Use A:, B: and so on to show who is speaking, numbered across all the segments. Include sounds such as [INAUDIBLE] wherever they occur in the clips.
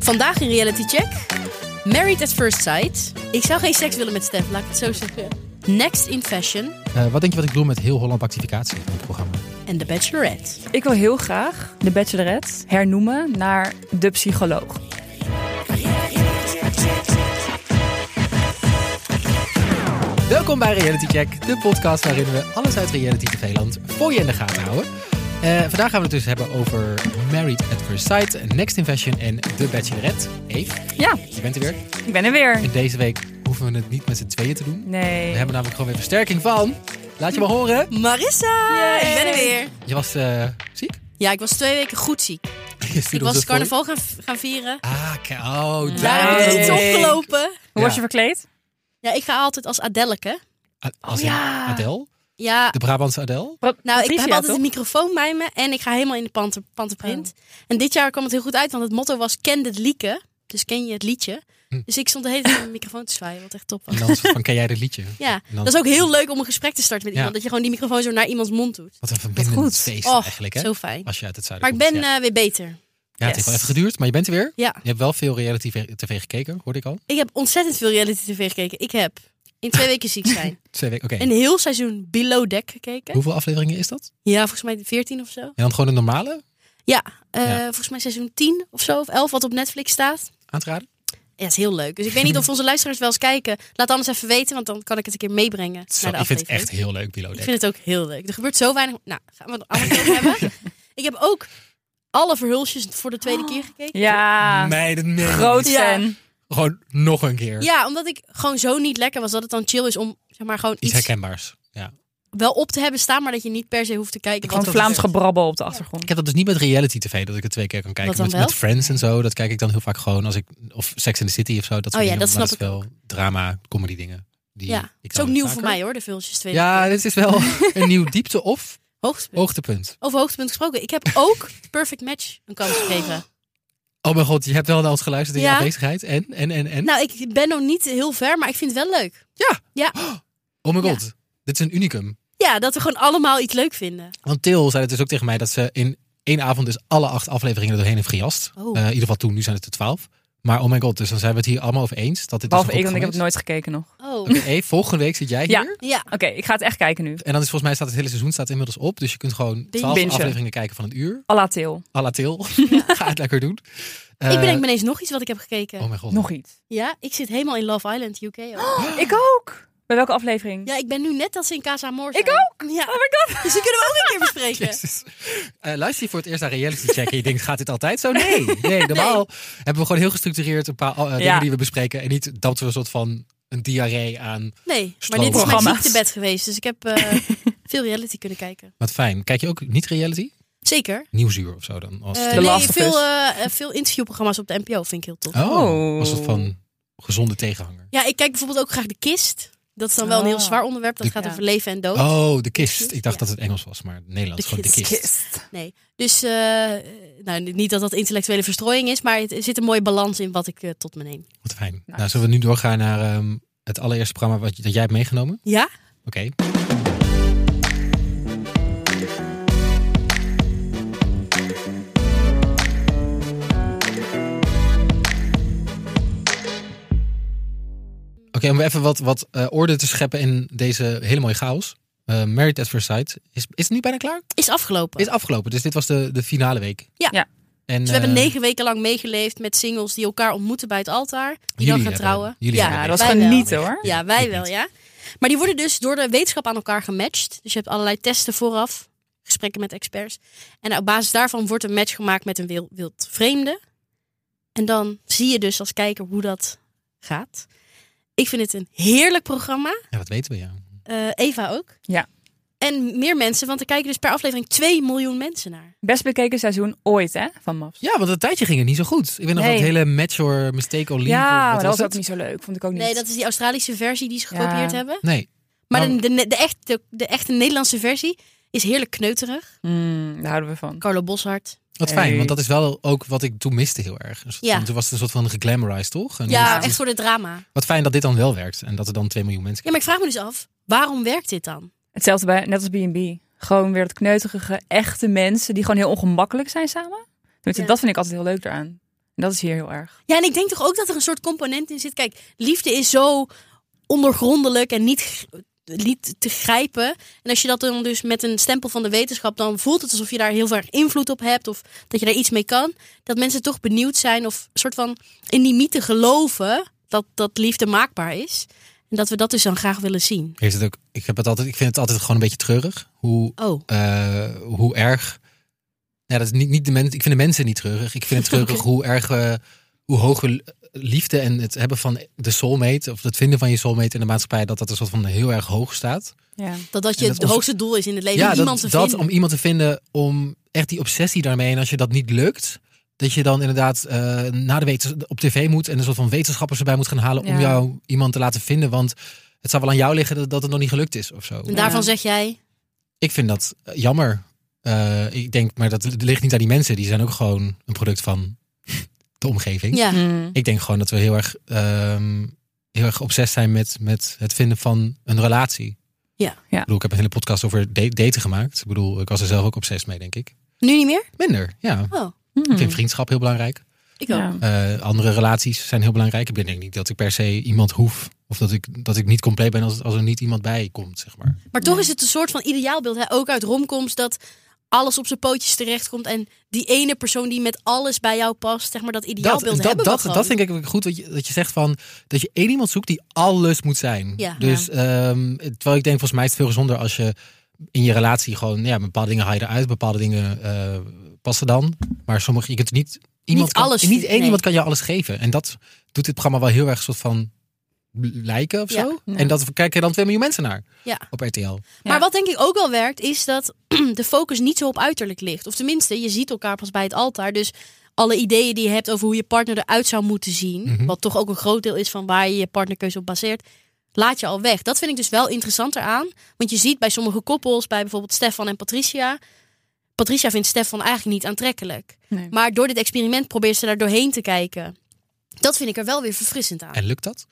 A: Vandaag in Reality Check. Married at First Sight. Ik zou geen seks willen met Stef, laat ik het zo zeggen. Next in Fashion.
B: Eh, wat denk je wat ik doe met heel Holland Activicatie in het programma?
A: En The Bachelorette.
C: Ik wil heel graag de Bachelorette hernoemen naar de psycholoog.
B: Welkom bij Reality Check, de podcast waarin we alles uit Reality TV-land voor je in de gaten houden. Eh, vandaag gaan we het dus hebben over Married at First Sight, Next in Fashion en The Bachelorette. Eve,
C: Ja,
B: je bent er weer.
C: ik ben er weer.
B: En deze week hoeven we het niet met z'n tweeën te doen. We
C: Nee.
B: hebben namelijk gewoon weer versterking van. Laat je maar horen.
A: Marissa!
C: Yay.
A: Ik ben er weer.
B: Je was eh, ziek? [LAUGHS]
A: Ja, ik was twee weken goed ziek.
B: Je stuurde
A: Ik
B: ons
A: was
B: een fooi.
A: carnaval gaan, gaan vieren.
B: Ah, k- oh,
A: Daarom is
B: daar.
C: Hey.
A: iets opgelopen.
C: Hoe was
B: Ja.
C: je verkleed?
A: Ja, ik ga altijd als Adelleke.
B: A- Als
C: Oh,
B: in
C: ja.
B: Adele?
A: Ja,
B: De Brabantse Adele?
C: Wat-
A: nou, ik
C: Patricia,
A: heb altijd
C: toch?
A: een microfoon bij me en ik ga helemaal in de panter, panterprint. En dit jaar kwam het heel goed uit, want het motto was ken het lieke. Dus ken je het liedje.
B: Hm.
A: Dus ik stond de hele tijd met mijn microfoon te zwaaien, wat echt top was.
B: En dan van, ken jij dit liedje?
A: Ja,
B: En dan-
A: dat is ook heel leuk om een gesprek te starten met
B: Ja.
A: iemand. Dat je gewoon die microfoon zo naar iemands mond doet.
B: Wat een verbindend
C: goed.
B: feest
A: Oh,
B: eigenlijk, hè?
A: zo fijn.
B: Als je uit het zuiden
A: Maar ik
B: komt.
A: ben
B: dus Ja,
A: eh, weer beter.
B: Ja, het heeft
C: Yes.
B: wel even geduurd, maar je bent er weer.
A: Ja,
B: Je hebt wel veel reality v- tv gekeken, hoorde ik al.
A: ik heb ontzettend veel reality tv gekeken. Ik heb in twee weken ziek
B: [LAUGHS]
A: zijn.
B: Twee weken, oké.
A: Een heel seizoen Below Deck gekeken.
B: Hoeveel afleveringen is dat?
A: Ja, volgens mij 14 of zo.
B: En dan gewoon een normale
A: Ja, eh,
B: Ja.
A: volgens mij seizoen 10 of zo. Of 11 wat op Netflix staat.
B: aan te raden?
A: Ja, is heel leuk. Dus ik weet
B: [LAUGHS]
A: niet of onze luisteraars wel eens kijken. Laat anders even weten, want dan kan ik het een keer meebrengen
B: Zo,
A: naar de
B: ik vind
A: aflevering.
B: het echt heel leuk, Below
A: Ik
B: Deck.
A: vind het ook heel leuk. Er gebeurt zo weinig. Nou, gaan we het allemaal over hebben.
B: [LAUGHS]
A: Ik heb ook alle verhulsjes voor de tweede keer gekeken.
C: Ja,
B: Meiden, nee.
C: groot
A: Ja.
C: fan.
B: Gewoon nog een keer.
A: eh, Ja, omdat ik gewoon zo niet lekker was dat het dan chill is om zeg maar gewoon
B: Iets
A: iets
B: herkenbaars. Ja.
A: wel op te hebben staan, maar dat je niet per se hoeft te kijken.
B: had
C: Gewoon
A: Want
B: dat
C: Vlaams
B: gezegd.
C: gebrabbel op de achtergrond.
B: Ik heb dat dus niet met reality tv, dat ik het twee keer kan kijken.
A: Wat dan
B: Met,
A: wel?
B: met Friends en zo, dat kijk ik dan heel vaak gewoon als ik... Of Sex in the City of zo, dat soort
A: Oh ja,
B: dingen.
A: dat
B: maar
A: snap
B: is wel drama, comedy dingen. Die
A: ja,
B: ik
A: het is
B: dan
A: ook nieuw
B: vaker-
A: voor mij hoor, de vulsjes tweede
B: Ja,
A: keer.
B: dit is
A: [LAUGHS]
B: wel een nieuw diepte of
A: Hoogtepunt. [LAUGHS]
B: hoogtepunt.
A: Over hoogtepunt gesproken. Ik heb ook [LAUGHS] Perfect Match een kans gegeven.
B: Oh mijn god, je hebt wel naar ons geluisterd in je
A: Ja.
B: afwezigheid. En, en, en, en?
A: Nou, ik ben nog niet heel ver, maar ik vind het wel leuk.
B: Ja.
A: Ja.
B: Oh mijn
A: Ja.
B: god, dit is een unicum.
A: Ja, dat we gewoon allemaal iets leuk vinden.
B: Want Til zei het dus ook tegen mij dat ze in één avond dus alle acht afleveringen er doorheen heeft gejast.
A: Oh.
B: Eh, in ieder geval toen, nu zijn het er twaalf. Maar oh mijn god, dus dan zijn we het hier allemaal over eens. Dat dit
C: Behalve
B: dus
C: ik,
B: een
C: want
B: goed
C: ik heb het
B: programma
C: nooit gekeken nog.
A: Oh,
C: Oké,
B: is. Oké, [LAUGHS] hey, volgende week zit jij
C: Ja.
B: hier.
A: ja.
C: ik ga het echt kijken nu.
B: En dan is volgens mij staat het hele seizoen staat inmiddels op. Dus je kunt gewoon twaalf
C: Bingen.
B: afleveringen kijken van een uur.
C: Alla Til.
B: À la
A: [LAUGHS]
B: Til. Ga het lekker doen.
A: Ik
B: Eh,
A: bedenk me ineens nog iets wat ik heb gekeken.
B: Oh mijn god.
C: Nog iets.
A: Ja, ik zit helemaal in Love Island UK. ook.
C: Ik ook. Bij welke aflevering?
A: Ja, ik ben nu net als in Casa Amor.
C: Ik
A: ook! Ja.
C: Oh my god.
A: [LAUGHS] Dus die kunnen we ook
C: [LAUGHS]
A: een keer bespreken.
B: Jezus. Eh, luister je voor het eerst naar reality check en je denkt, gaat dit altijd zo? Nee, nee normaal hebben we gewoon heel gestructureerd een paar eh, dingen
C: Ja.
B: die we bespreken. En niet dat we een soort van een diarree aan.
A: Nee, maar dit
B: Stroom.
A: is mijn
C: Programma's.
A: ziektebed geweest. Dus ik heb eh,
B: [LAUGHS]
A: veel reality kunnen kijken.
B: Wat fijn. Kijk je ook niet reality?
A: Zeker.
B: Nieuwsuur of zo dan? Als
A: Eh,
B: tv?
C: De
A: nee,
C: Last of
A: veel,
C: Us.
A: eh, eh, veel interviewprogramma's op de NPO vind ik heel tof.
B: Oh,
C: Oh.
B: was dat van gezonde tegenhanger?
A: Ja, ik kijk bijvoorbeeld ook graag De Kist. Dat is dan wel een heel
C: Ah.
A: zwaar onderwerp. Dat
B: De-
A: gaat
C: Ja.
A: over leven en dood.
B: Oh, de kist.
A: Kist,
B: Ik dacht
A: ja.
B: dat het Engels was, maar Nederlands
A: De
B: gewoon de
A: kist.
B: kist.
C: Kist.
A: Dus eh, nou, niet dat dat intellectuele verstrooiing is, maar het- er zit een mooie balans in wat ik eh, tot me neem.
B: Wat fijn.
C: Nice.
B: Nou, zullen we nu doorgaan naar ehm, het allereerste programma wat, je- dat jij hebt meegenomen?
A: Ja?
B: Oké. Oké, om even wat, wat eh, orde te scheppen in deze hele mooie chaos. Eh, Married at First Sight. Is, is het nu bijna klaar?
A: Is afgelopen.
B: Is afgelopen, dus dit was de, de finale week.
A: Ja.
C: Ja.
B: En,
A: Dus we hebben
B: eh,
A: negen weken lang meegeleefd met singles die elkaar ontmoeten bij het altaar. Die
B: jullie
A: dan gaan
B: hebben-
A: trouwen.
B: Jullie
A: ja,
C: Ja,
B: hebben
C: dat was
A: Wij wel.
C: genieten hoor.
A: ja, wij
B: Ik
A: wel,
B: niet.
A: ja. Maar die worden dus door de wetenschap aan elkaar gematcht. Dus je hebt allerlei testen vooraf, gesprekken met experts. En op basis daarvan wordt een match gemaakt met een wil- wild vreemde. En dan zie je dus als kijker hoe dat gaat. Ik vind het een heerlijk programma.
B: Ja, wat weten we ja.
A: Eh, Eva ook.
C: Ja.
A: En meer mensen, want er kijken dus per aflevering 2 miljoen mensen naar.
C: Best bekeken seizoen ooit hè, van Mavs.
B: Ja, want een tijdje ging het niet zo goed. Ik weet nog
C: Nee.
B: dat hele match or mistake or leave.
C: Ja,
B: of
C: maar
B: wat
C: dat was
B: het?
C: ook niet zo leuk. Vond ik ook niet.
A: Nee, dat is die Australische versie die ze gekopieerd
C: Ja.
A: hebben.
B: Nee.
A: Maar
B: Nou,
A: de, de, de, echte, de echte Nederlandse versie is heerlijk kneuterig.
C: Mm, daar houden we van.
A: Carlo Boshart.
B: Wat fijn,
C: Hey.
B: want dat is wel ook wat ik toen miste heel erg. Een soort
A: Ja.
B: van- Toen was het een soort van geglamorized, toch? En
A: Ja,
B: dus-
A: echt voor de drama.
B: Wat fijn dat dit dan wel werkt en dat er dan 2 miljoen mensen
A: Ja, maar ik vraag me dus af, waarom werkt dit dan?
C: Hetzelfde bij, net als B&B. Gewoon weer dat kneuterige, echte mensen die gewoon heel ongemakkelijk zijn samen. Tenminste,
A: Ja.
C: dat vind ik altijd heel leuk eraan. Dat is hier heel erg.
A: Ja, en ik denk toch ook dat er een soort component in zit. Kijk, liefde is zo ondergrondelijk en niet, g- niet te grijpen. En als je dat dan dus met een stempel van de wetenschap, dan voelt het alsof je daar heel erg invloed op hebt. Of dat je daar iets mee kan. Dat mensen toch benieuwd zijn of een soort van in die mythe geloven dat, dat liefde maakbaar is. En dat we dat dus dan graag willen zien.
B: Heeft het ook, ik, heb het altijd, ik vind het altijd gewoon een beetje treurig. Hoe,
A: Oh,
B: eh, hoe erg. Ja, dat is niet, niet de mens, ik vind de mensen niet treurig. Ik vind
C: [LAUGHS]
B: het treurig hoe erg. eh, hoe hoge liefde en het hebben van de soulmate. of het vinden van je soulmate in de maatschappij. dat dat een soort van heel erg hoog staat.
C: Ja.
A: dat dat je
B: En dat
A: het
B: ons-
A: hoogste doel is in het leven. om
B: ja,
A: iemand
B: dat,
A: te
B: dat
A: vinden.
B: om iemand te vinden. om echt die obsessie daarmee. en als je dat niet lukt. dat je dan inderdaad eh na de wetens, op tv moet. en een soort van wetenschappers erbij moet gaan halen. om
C: Ja.
B: jou iemand te laten vinden. Want het zou wel aan jou liggen dat, dat het nog niet gelukt is of zo.
A: En daarvan
C: Ja.
A: zeg jij,
B: Ik vind dat eh, jammer. Eh, ik denk, maar dat ligt niet aan die mensen. Die zijn ook gewoon een product van de omgeving.
A: ja,
C: Mm.
B: Ik denk gewoon dat we heel erg, ehm heel erg obsessief zijn met, met het vinden van een relatie.
A: Ja.
B: Ik bedoel, ik heb een hele podcast over da- daten gemaakt. Ik bedoel, ik was er zelf ook obsessief mee, denk ik.
A: nu niet meer?
B: Minder, ja.
A: Oh,
B: Ik
C: Hmm.
B: vind vriendschap heel belangrijk.
A: ik ook.
C: Mm. Ja.
B: Eh, andere relaties zijn heel belangrijk. Ik denk niet dat ik per se iemand hoef. Of dat ik, dat ik niet compleet ben als, als er niet iemand bij komt, zeg maar.
A: Maar toch
C: Ja.
A: is het een soort van ideaalbeeld. Hè? Ook uit romcoms dat alles op zijn pootjes terechtkomt. En die ene persoon die met alles bij jou past. Zeg maar dat
B: dat,
A: ideaalbeeld
B: dat,
A: hebben we
B: dat,
A: gewoon.
B: dat vind ik ook goed wat je, dat je zegt van dat je één iemand zoekt die alles moet zijn.
A: Ja.
B: dus ehm, terwijl ik denk volgens mij is het veel gezonder als je in je relatie gewoon ja, bepaalde dingen haal je eruit, bepaalde dingen eh, passen dan. Maar sommige je kunt niet iemand kan-
A: alles
B: niet
A: vinden,
B: één
A: nee.
B: iemand kan je alles geven en dat doet dit programma wel heel erg soort van lijken of
A: Ja. Mm.
B: zo.
C: Ja.
B: En dat kijken dan twee miljoen mensen naar
A: Ja.
B: op RTL.
A: Maar
C: Ja.
A: wat denk ik ook wel werkt, is dat [CLEARS THROAT] de focus niet zo op uiterlijk ligt. Of tenminste, je ziet elkaar pas bij het altaar. Dus alle ideeën die je hebt over hoe je partner eruit zou moeten zien.
B: Mhm.
A: Wat toch ook een groot deel is van waar je je partnerkeuze op baseert. Laat je al weg. Dat vind ik dus wel interessanter aan. Want je ziet bij sommige koppels, bij bijvoorbeeld Stefan en Patricia. Patricia vindt Stefan eigenlijk niet aantrekkelijk.
C: Nee.
A: Maar door dit experiment probeert ze daar doorheen te kijken. Dat vind ik er wel weer verfrissend aan.
B: En lukt dat? [LAUGHS]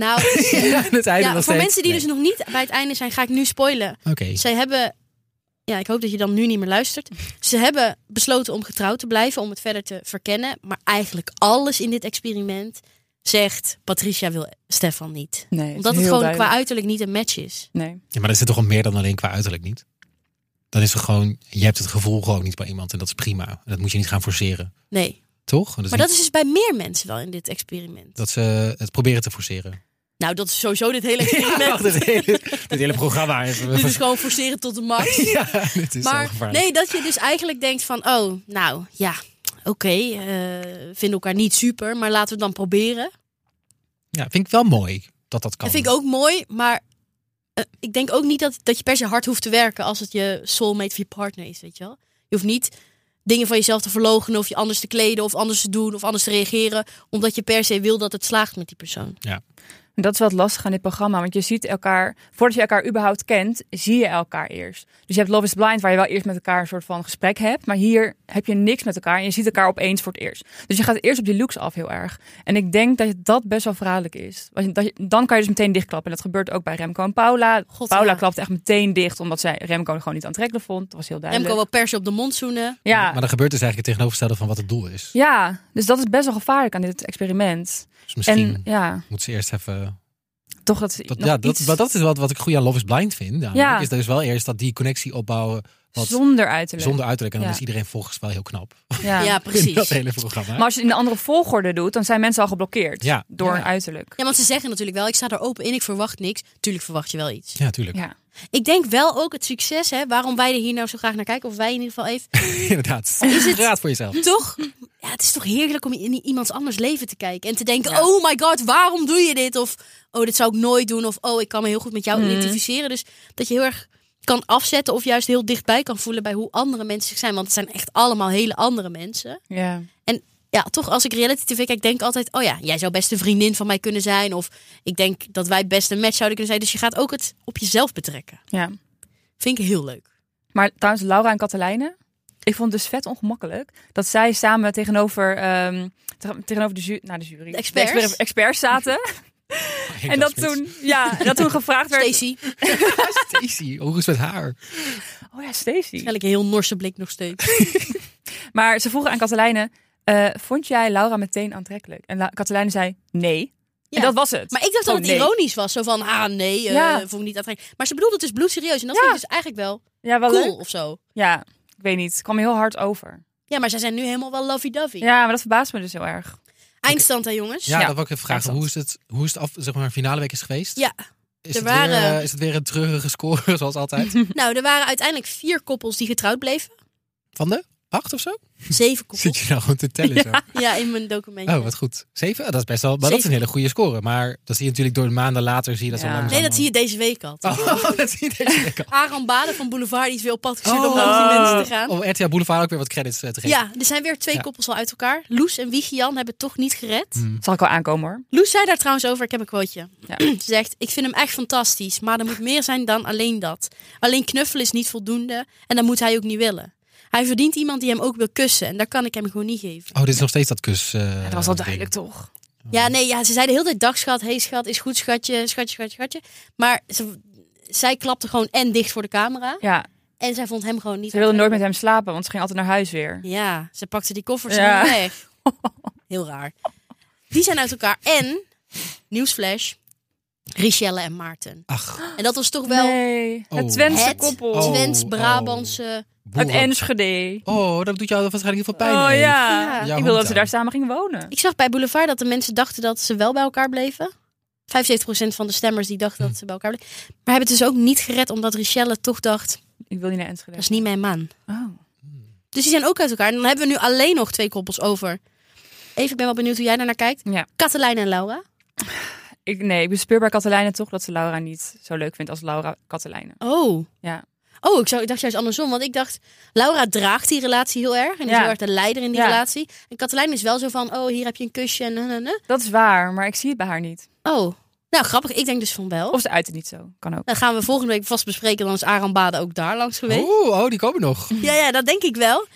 A: Nou,
B: Ja, het einde
A: Ah. ja,
B: nog
A: voor
B: steeds.
A: mensen die
B: Nee.
A: dus nog niet bij het einde zijn, ga ik nu spoilen.
B: Oké.
A: Zij hebben. Ja, ik hoop dat je dan nu niet meer luistert. Ze hebben besloten om getrouwd te blijven, om het verder te verkennen. Maar eigenlijk alles in dit experiment zegt Patricia wil Stefan niet.
C: Nee,
A: Omdat het
C: heel
A: gewoon qua
C: duidelijk.
A: uiterlijk niet een match is.
C: Nee.
B: Ja, maar dat zit toch al meer dan alleen qua uiterlijk niet? Dan is er gewoon, je hebt het gevoel gewoon niet bij iemand en dat is prima. En Dat moet je niet gaan forceren,
A: Nee.
B: toch? Dat
A: Maar
B: is niet
A: dat is dus bij meer mensen wel in dit experiment.
B: dat ze het proberen te forceren.
A: Nou, dat is sowieso dit
B: [LAUGHS]
A: hele experiment.
B: Wacht, dit, hele, dit hele programma is.
A: Dit is gewoon forceren tot de max.
B: [LAUGHS] Ja, dit is zo
A: Maar
B: gevaarlijk.
A: nee, dat je dus eigenlijk denkt van, oh, nou ja, oké, eh, vinden elkaar niet super, maar laten we het dan proberen.
B: Ja, vind ik wel mooi dat dat kan.
A: Dat vind ik ook mooi, maar eh, ik denk ook niet dat, dat je per se hard hoeft te werken als het je soulmate of je partner is, weet je wel. Je hoeft niet dingen van jezelf te verloochenen of je anders te kleden of anders te doen of anders te reageren, omdat je per se wil dat het slaagt met die persoon.
C: En Dat is wat lastig aan dit programma. Want je ziet elkaar, voordat je elkaar überhaupt kent, zie je elkaar eerst. Dus je hebt Love is Blind, waar je wel eerst met elkaar een soort van gesprek hebt. Maar hier heb je niks met elkaar en je ziet elkaar opeens voor het eerst. Dus je gaat eerst op die looks af heel erg. En ik denk dat dat best wel verraderlijk is. Want je- dat je- Dan kan je dus meteen dichtklappen. En dat gebeurt ook bij Remco en Paula.
A: God,
C: Paula
A: ja.
C: klapt echt meteen dicht, omdat zij Remco gewoon niet aantrekkelijk vond. Dat was heel duidelijk.
A: Remco wil per se op de mond zoenen.
C: Ja.
B: Maar dan gebeurt dus eigenlijk het tegenovergestelde van wat het doel is.
C: ja, dus dat is best wel gevaarlijk aan dit experiment.
B: Dus misschien
C: En ja,
B: moet ze eerst even...
C: toch dat, ze
B: Dat,
C: nog
B: ja, dat,
C: iets
B: maar dat is wat, wat ik goed aan Love is Blind vind. Ja.
C: Ja.
B: Is dus wel eerst dat die connectie opbouwen wat, zonder,
C: zonder uiterlijk.
B: uiterlijk. En dan
C: Ja.
B: is iedereen volgens wel heel knap. [LAUGHS]
A: Ja,
B: In dat
A: precies.
B: hele programma.
C: Maar als je het in een andere volgorde doet, dan zijn mensen al geblokkeerd
B: Ja.
C: door
B: Ja.
C: een uiterlijk.
A: Ja, want ze zeggen natuurlijk wel, ik sta er open in, ik verwacht niks. Tuurlijk verwacht je wel iets.
B: Ja, tuurlijk.
C: Ja.
A: Ik denk wel ook het succes, hè, waarom wij er hier nou zo graag naar kijken, of wij in ieder geval even.
B: [LAUGHS] Inderdaad. Raad voor jezelf.
A: toch? Ja, het is toch heerlijk om in iemands anders leven te kijken en te denken:
C: Ja.
A: oh my god, waarom doe je dit? Of oh, dit zou ik nooit doen. Of oh, ik kan me heel goed met jou
C: Mm.
A: identificeren. Dus dat je heel erg kan afzetten of juist heel dichtbij kan voelen bij hoe andere mensen zich zijn. Want het zijn echt allemaal hele andere mensen.
C: Ja.
A: Ja, toch als ik reality tv kijk, denk ik altijd: oh ja, jij zou best een vriendin van mij kunnen zijn. Of ik denk dat wij best een match zouden kunnen zijn. Dus je gaat ook het op jezelf betrekken.
C: ja.
A: Vind ik heel leuk.
C: Maar trouwens, Laura en Katelijne, ik vond het dus vet ongemakkelijk dat zij samen tegenover, ehm, teg- tegenover de, ju nou, de jury,
A: De experts.
C: exper- experts zaten. en dat toen, ja, dat toen gevraagd werd.
A: Stacey,
B: [LAUGHS] Stacy, hoe is het met haar?
C: Oh ja, Stacey.
A: eigenlijk een heel Norse blik nog steeds.
C: Maar ze vroegen aan Katelijne, eh, vond jij Laura meteen aantrekkelijk? En La- Katelijne zei nee.
A: Ja.
C: En dat was het.
A: Maar ik dacht dat
C: Oh,
A: het
C: nee.
A: ironisch was. Zo van, ah nee, eh
C: Ja.
A: vond ik niet aantrekkelijk. Maar ze bedoelde het dus bloedserieus. En dat
C: Ja.
A: vind ik dus eigenlijk wel
C: ja, wel
A: cool
C: leuk.
A: of zo.
C: Ja, ik weet niet. Het kwam heel hard over.
A: Ja, maar zij zijn nu helemaal wel lovey-dovey.
C: Ja, maar dat verbaast me dus heel erg.
A: Eindstand hè jongens?
B: Ja,
C: Ja,
B: dat wil ik even vragen.
C: exact.
B: Hoe is het, hoe is het af, zeg maar, finale week is geweest?
A: Ja,
B: Is,
A: er
B: het
A: waren-
B: weer, eh, is het weer een treurige score, [LAUGHS] zoals altijd?
A: [LAUGHS] Nou, er waren uiteindelijk vier koppels die getrouwd bleven.
B: Van de acht of zo? [LAUGHS]
A: Zeven
B: Zit
A: koppels. [LAUGHS]
B: je nou gewoon te tellen? zo?
A: Ja, in mijn documentje.
B: Oh, wat goed. Zeven? Ah, Dat is best wel. Maar dat is een
A: Zeven.
B: hele goede score. Maar dat zie je natuurlijk door de maanden later. Zie je dat zo
C: Ja.
B: langzaam.
A: Nee, dat zie je deze week al.
B: [LAUGHS] Oh, dat zie je deze week al.
A: Aaron Baden van Boulevard die is weer op pad gestuurd om
B: Oh.
A: langs die mensen te gaan.
B: Om RTL Boulevard ook weer wat credits eh, te geven.
A: Ja, er zijn weer twee
B: Ja.
A: koppels al uit elkaar. Loes en Wigian hebben het toch niet gered.
C: Dat zal ik wel aankomen hoor.
A: Loes zei daar trouwens over, ik heb een quoteje.
C: Ja.
A: [CLEARS THROAT] Ze zegt, ik vind hem echt fantastisch, maar er moet meer zijn dan alleen dat. Alleen knuffelen is niet voldoende en dat moet hij ook niet willen. Hij verdient iemand die hem ook wil kussen en dat kan ik hem gewoon niet geven.
B: Oh, dit is nog steeds dat kus. eh,
C: dat was al
B: ding.
C: duidelijk toch?
A: Ja, nee, ja, ze zei de hele tijd dag schat, hey schat, is goed schatje, schatje, schatje, schatje. Maar ze, zij klapte gewoon en dicht voor de camera
C: Ja,
A: en zij vond hem gewoon niet.
C: ze wilde nooit met
A: aantrekkelijk.
C: hem slapen, want ze ging altijd naar huis weer.
A: Ja, ze pakte die koffers
C: Ja.
A: en ging weg.
C: [LAUGHS]
A: Heel raar. Die zijn uit elkaar en, nieuwsflash, Richelle en Maarten.
B: Ach,
A: En dat was toch wel...
C: Nee.
B: Oh.
C: Het Twentse
A: Het
C: koppel.
B: Oh,
A: Twents-Brabantse.
B: boeren.
C: Uit Enschede.
B: Oh, dat doet jou waarschijnlijk heel veel pijn.
C: Oh
B: mee.
C: ja.
A: Ja,
B: jouw
C: Ik wil dat
B: hond
C: ze
B: dan.
C: daar samen gingen wonen.
A: Ik zag bij Boulevard dat de mensen dachten dat ze wel bij elkaar bleven. 75% van de stemmers die dachten dat ze bij elkaar bleven. Maar hebben het dus ook niet gered omdat Richelle toch dacht,
C: Ik wil niet naar Enschede.
A: dat is niet mijn man.
C: Oh.
A: Dus die zijn ook uit elkaar. En dan hebben we nu alleen nog twee koppels over. Even, ik ben wel benieuwd hoe jij daarnaar kijkt.
C: Ja.
A: Katelijn en Laura.
C: Ik, nee, ik bespeur bij Katelijne toch dat ze Laura niet zo leuk vindt als Laura Katelijne.
A: Oh.
C: Ja.
A: Oh, ik, zou, ik dacht juist andersom. Want ik dacht, Laura draagt die relatie heel erg. En is
C: Ja.
A: heel erg de leider in die
C: Ja.
A: relatie. En Katelijn is wel zo van, oh, hier heb je een kusje. En, en, en, en.
C: Dat is waar, maar ik zie het bij haar niet.
A: Oh. Nou, grappig. Ik denk dus van wel.
C: Of ze uit het niet zo. Kan ook.
A: Dan gaan we volgende week vast bespreken. Dan is Aram Baden ook daar langs geweest.
B: Oh, oh, die komen nog.
A: Ja, ja, dat denk ik wel.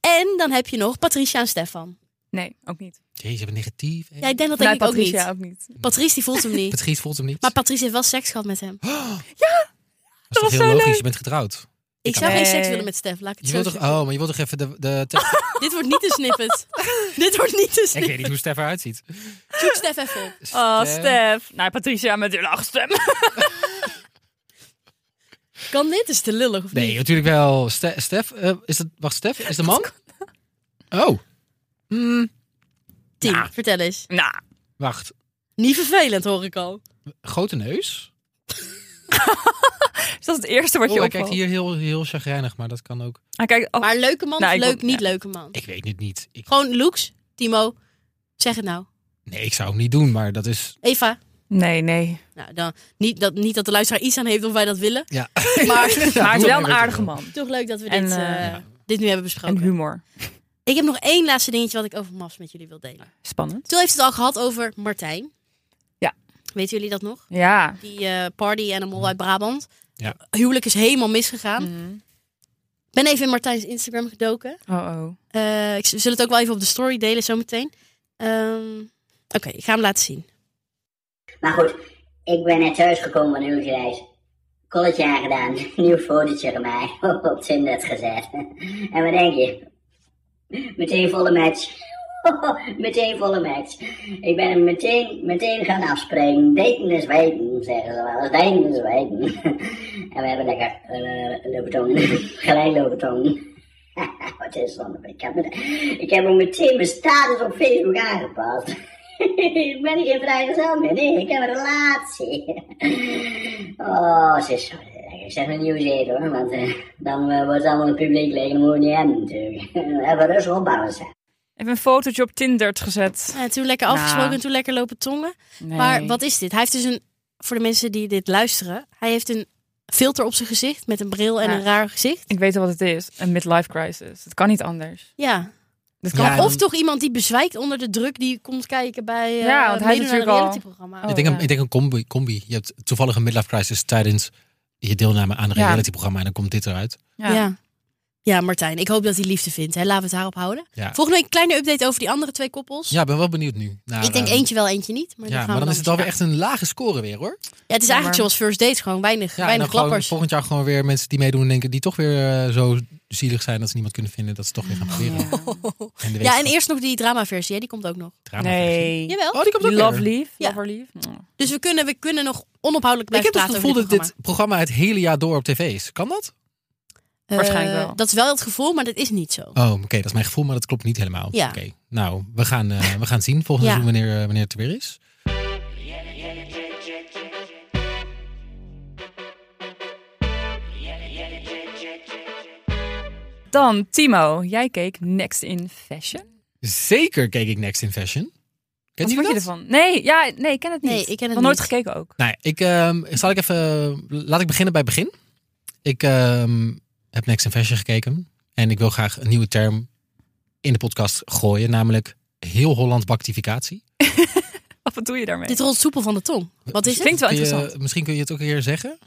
A: En dan heb je nog Patricia en Stefan.
C: Nee, ook niet.
B: Jezus, hebben negatief. hè?
A: Ja, ik denk dat
C: Vanuit
A: denk ik ook niet.
C: Patricia ook niet.
A: Patrice die voelt hem niet.
C: [LAUGHS]
B: Het giet voelt hem niet.
A: Maar Patrice heeft wel seks gehad met hem.
B: dat is toch
C: was
B: heel
C: zo
B: logisch,
C: leuk.
B: je bent getrouwd.
A: Ik zou
C: Nee.
A: geen seks willen met Stef, laat ik het
B: Je
A: zo
B: wilt toch,
A: zeggen.
B: oh, maar je wilt toch even de...
C: [LAUGHS]
B: de tekst-
A: Dit wordt niet een snippet. Dit wordt niet een
B: ik weet
A: snippet.
B: niet hoe Stef eruit ziet.
A: Zoek Stef even op.
C: Oh,
B: Stef.
C: Stef. Nou, Patricia met hun lachstem.
A: Kan dit? Is te lullig of
B: Nee,
A: niet?
B: natuurlijk wel. Ste- Stef, eh, is dat, wacht, Stef, is de man? Oh,
A: Tien,
C: Ja.
A: vertel eens.
C: Mm, Nou,
B: wacht.
A: Niet vervelend hoor ik al.
C: Oh.
B: Grote neus?
C: is dat het eerste wat je
B: Oh, hij
C: opvalt?
B: kijkt hier heel, heel chagrijnig, maar dat kan ook.
C: Hij kijkt... oh,
A: Maar leuke man
C: Nou,
A: of
C: ik
A: leuk,
C: wil-
A: niet
C: ja.
A: leuke man?
B: Ik weet het niet. Ik,
A: Gewoon looks, Timo. Zeg het nou.
B: nee, ik zou het niet doen, maar dat is.
A: Eva.
C: Nee, nee.
A: Nou, dan, niet, dat, niet dat de luisteraar iets aan heeft of wij dat willen.
B: Ja. [LAUGHS]
A: Maar
C: Maar hij is wel een aardige man.
A: toch leuk dat we dit,
C: En,
A: eh,
C: eh,
A: dit nu hebben
C: En
A: besproken.
C: humor.
A: Ik heb nog één laatste dingetje wat ik over Mafs met jullie wil delen.
C: Spannend.
A: Toen heeft het al gehad over Martijn.
C: Ja. Mhm.
A: Weten jullie dat nog?
C: Ja.
A: Die eh, party animal uit Brabant.
B: Ja.
A: Huwelijk is helemaal misgegaan.
C: Mhm.
A: Ben even in Martijn's Instagram gedoken.
C: Oh, oh.
A: Eh, ik, we zullen het ook wel even op de story delen zometeen. Ehm, Oké, ik ga hem laten zien.
D: Maar goed, ik ben net thuis gekomen van huwelijksreis. Colletje aangedaan, [LAUGHS] nieuw fotootje gemaakt, [LAUGHS] op Tinder gezet. [LAUGHS] En wat denk je? Meteen volle match. [LAUGHS] meteen volle match. Ik ben hem meteen, meteen gaan afspreken. Daten is weten, zeggen ze wel. eens. Daten is weten. [LAUGHS] en we hebben lekker eh lopen tongen. [LAUGHS] Gelijk lopen tongen. Wat is dat? Ik heb, met- ik heb ook meteen mijn status op Facebook aangepast. [LAUGHS] ik ben geen vrijgezel meer. Nee, ik heb een relatie. oh, ze is zo lekker. Ik zeg maar nieuws eten hoor, want eh, dan eh, wordt het allemaal het publiek leeg. en Dat moeten we niet hebben natuurlijk. [LAUGHS] Even rustig opbouwen zijn.
C: Even een fotootje op Tinder gezet.
A: Eh, toen lekker
C: Nou.
A: afgesproken en toen lekker lopen tongen.
C: Nee.
A: Maar wat is dit? Hij heeft dus een, voor de mensen die dit luisteren, hij heeft een filter op zijn gezicht met een bril en
C: Ja.
A: een raar gezicht.
C: Ik weet al wat het is. Een midlife crisis. Het kan niet anders.
A: Ja,
C: Dat
B: Ja,
C: kan
B: en-
A: Of toch iemand die bezwijkt onder de druk die komt kijken bij eh
C: Ja, want hij
A: meedoen
C: is
A: aan een
C: natuurlijk al-
A: realityprogramma.
C: Oh.
B: ik, denk een,
C: ja.
B: ik denk een combi, combi. Je hebt toevallig een midlife crisis tijdens je deelname aan een
C: Ja.
B: realityprogramma en dan komt dit eruit.
A: Ja. Ja, Martijn, ik hoop dat hij liefde vindt. Hè? Laten we het daarop houden.
B: Ja.
A: Volgende week een kleine update over die andere twee koppels.
B: Ja, ik ben wel benieuwd nu. naar,
A: ik denk
B: eh,
A: eentje wel, eentje niet. Maar
B: Ja,
A: dan
B: maar dan is het alweer
A: echt.
B: echt een lage score weer hoor.
A: Ja, het is
C: maar-
A: eigenlijk zoals first dates, gewoon weinig,
B: Ja, en
A: weinig
B: dan gewoon
A: klappers.
B: volgend jaar gewoon weer mensen die meedoen en denken die toch weer eh, zo zielig zijn dat ze niemand kunnen vinden, dat ze toch weer gaan proberen. En de
A: Ja, en
B: wetenschap-
A: eerst nog die dramaversie, hè? die komt ook nog.
B: dramaversie.
C: Nee.
A: Jawel.
B: Oh, die komt ook
C: Die
B: weer.
C: love leaf,
A: Ja.
C: lover Nou. leaf.
A: Dus we kunnen, we kunnen nog onophoudelijk
B: Ik
A: blijven
B: heb dus het
A: praten
B: gevoel
A: over
B: dat dit programma het hele jaar door op tv is. Kan dat?
A: programma.
C: Waarschijnlijk
A: Eh, Dat
C: wel.
A: is wel het gevoel, maar dat is niet zo.
B: Oh, oké, dat is mijn gevoel, maar dat klopt niet helemaal.
A: Ja.
B: Oké, nou, we gaan, eh, we gaan zien volgend
A: Ja.
B: seizoen wanneer, eh, wanneer het er weer is.
C: Dan Timo, jij keek Next in Fashion.
B: Zeker keek ik Next in Fashion. Ken je
C: Wat vond je
B: dat?
C: ervan? Nee, ja, nee, ik ken het niet.
A: Nee, ik ken het
C: Nog nooit
A: niet.
C: gekeken ook.
B: Nou, ja, ik, ehm, zal ik even, laat ik beginnen bij het begin. Ik ehm, heb Next in Fashion gekeken. En ik wil graag een nieuwe term in de podcast gooien. Namelijk heel Holland bactificatie.
C: Wat doe je daarmee?
A: Dit rolt soepel van de tong. Wat is het?
C: Klinkt wel
B: Kun je-
C: interessant.
B: misschien kun je het ook een keer zeggen.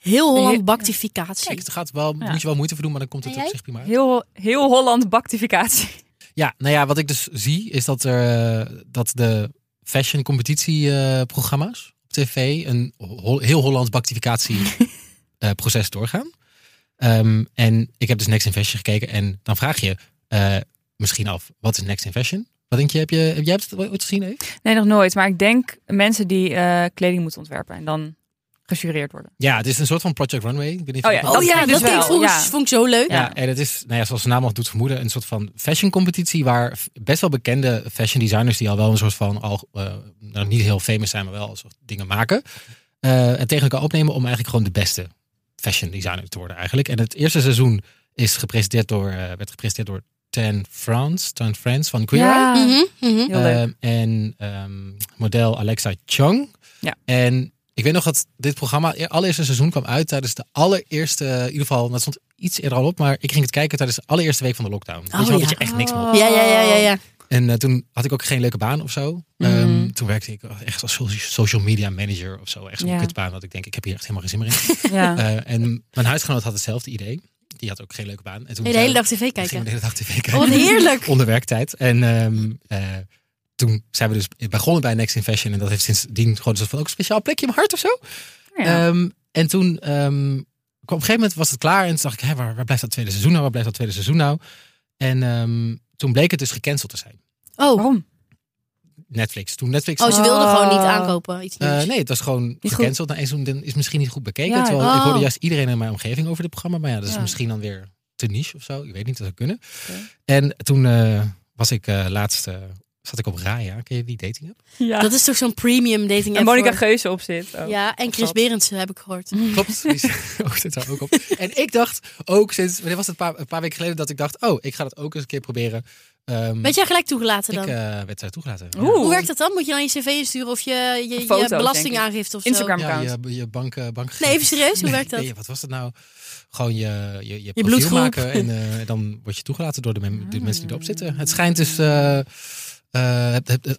A: Heel
C: Nee,
A: Holland
C: ja.
A: bactificatie.
B: Kijk, het gaat wel,
C: Ja.
B: moet je wel moeite voor doen, maar dan komt het
A: En
B: op
A: jij?
B: zich prima uit.
C: Heel, heel Holland bactificatie.
B: Ja, nou ja, wat ik dus zie is dat, er, eh, dat de fashion competitie eh, programma's op tv een ho- heel Hollands
A: [LAUGHS]
B: bactificatie eh, proces doorgaan. Ehm, en ik heb dus Next in Fashion gekeken en dan vraag je eh, misschien af, wat is Next in Fashion? Wat denk je, heb je, heb jij het ooit gezien? Eve?
C: [LAUGHS] Nee, nog nooit. Maar ik denk mensen die eh, kleding moeten ontwerpen en dan gejureerd worden.
B: Ja, het is een soort van Project Runway. Ik weet niet of
C: Oh
B: je
C: ja,
B: dat-
A: Oh ja,
C: klinkt
A: dat
C: dus
A: klinkt
C: wel,
A: vroeger-
C: ja.
A: vond ik zo leuk.
B: Ja, en het is, nou ja, zoals de naam al doet vermoeden, een soort van fashion competitie waar f- best wel bekende fashion designers die al wel een soort van, al, eh, nou niet heel famous zijn, maar wel een soort dingen maken, eh, en tegen elkaar opnemen om eigenlijk gewoon de beste fashion designer te worden eigenlijk. En het eerste seizoen is gepresenteerd door, eh, werd gepresenteerd door Tan France, Tan France van Queer Eye.
C: Ja,
A: Mhm, mhm.
C: heel leuk.
B: Ehm, en ehm, model Alexa Chung.
C: Ja.
B: En ik weet nog dat dit programma, het allereerste seizoen kwam uit tijdens de allereerste, in ieder geval, dat stond iets eerder al op, maar ik ging het kijken tijdens de allereerste week van de lockdown. Weet je wel,
A: Oh, ja.
B: dat je echt niks mocht.
A: Ja, ja, ja, ja, ja.
B: En eh, toen had ik ook geen leuke baan of zo. Ehm,
C: Mhm.
B: toen werkte ik echt als so- social media manager of zo. Echt zo'n
C: Ja.
B: kutbaan dat ik denk, ik heb hier echt helemaal geen zin
A: [LAUGHS]
B: meer in.
C: Ja.
B: [LAUGHS] Eh, en mijn huisgenoot had hetzelfde idee. Die had ook geen leuke baan. En toen
A: Nee, de
B: zei-
A: hele dag tv
B: Gingen
A: kijken.
B: we de hele dag tv kijken.
A: Oh, wat heerlijk.
B: Onder werktijd. En ehm, eh, toen zijn we dus begonnen bij Next in Fashion. En dat heeft sindsdien gewoon een soort van ook een speciaal plekje in mijn hart of zo.
C: Ja.
B: Ehm, en toen ehm, kwam op een gegeven moment was het klaar. En toen dacht ik, hè, waar, waar blijft dat tweede seizoen nou? Waar blijft dat tweede seizoen nou? En ehm, toen bleek het dus gecanceld te zijn.
A: Oh,
C: Waarom?
B: Netflix. Toen Netflix...
A: oh ze wilden
C: Oh.
A: gewoon niet aankopen. Iets
B: Eh,
A: nieuws.
B: nee, het was gewoon
C: goed.
B: gecanceld. Nou, en toen dan is misschien niet goed bekeken.
C: Ja,
B: terwijl ik
A: oh.
B: hoorde juist iedereen in mijn omgeving over dit programma. Maar ja, dat is
C: Ja.
B: misschien dan weer te niche of zo. Ik weet niet, dat zou kunnen.
C: Oké.
B: En toen eh, was ik eh, laatst... eh, zat ik op Raya. Ken je die dating app?
C: Ja.
A: Dat is toch zo'n premium dating
C: en
A: app
C: Monica
A: voor-
C: Geuze op zit. ook.
A: Ja, en Chris
C: zat.
A: Berendsen heb ik gehoord.
B: Klopt. Die zit- [LAUGHS] ook, zit daar ook op. En ik dacht ook sinds... Wanneer was het? Een paar, een paar weken geleden dat ik dacht... Oh, ik ga dat ook eens een keer proberen. Ehm,
A: Weet jij gelijk toegelaten
B: ik
A: dan?
B: eh, werd daar toegelaten. Ja.
C: Oeh.
A: Hoe werkt dat dan? Moet je dan je cv insturen of je, je,
C: Een foto,
A: je
C: denk ik.
A: belastingaangifte of zo?
C: Instagram.
B: Ja, je,
C: account.
B: je bank, eh, bankgegevens.
A: Nee, even serieus, hoe
B: Nee,
A: werkt dat?
B: nee, wat was dat nou? Gewoon je, je, je, profiel
A: bloedgroep.
B: maken en eh, dan word je toegelaten door de, mem- de mensen die erop zitten. Het schijnt dus, eh, eh, het, het- het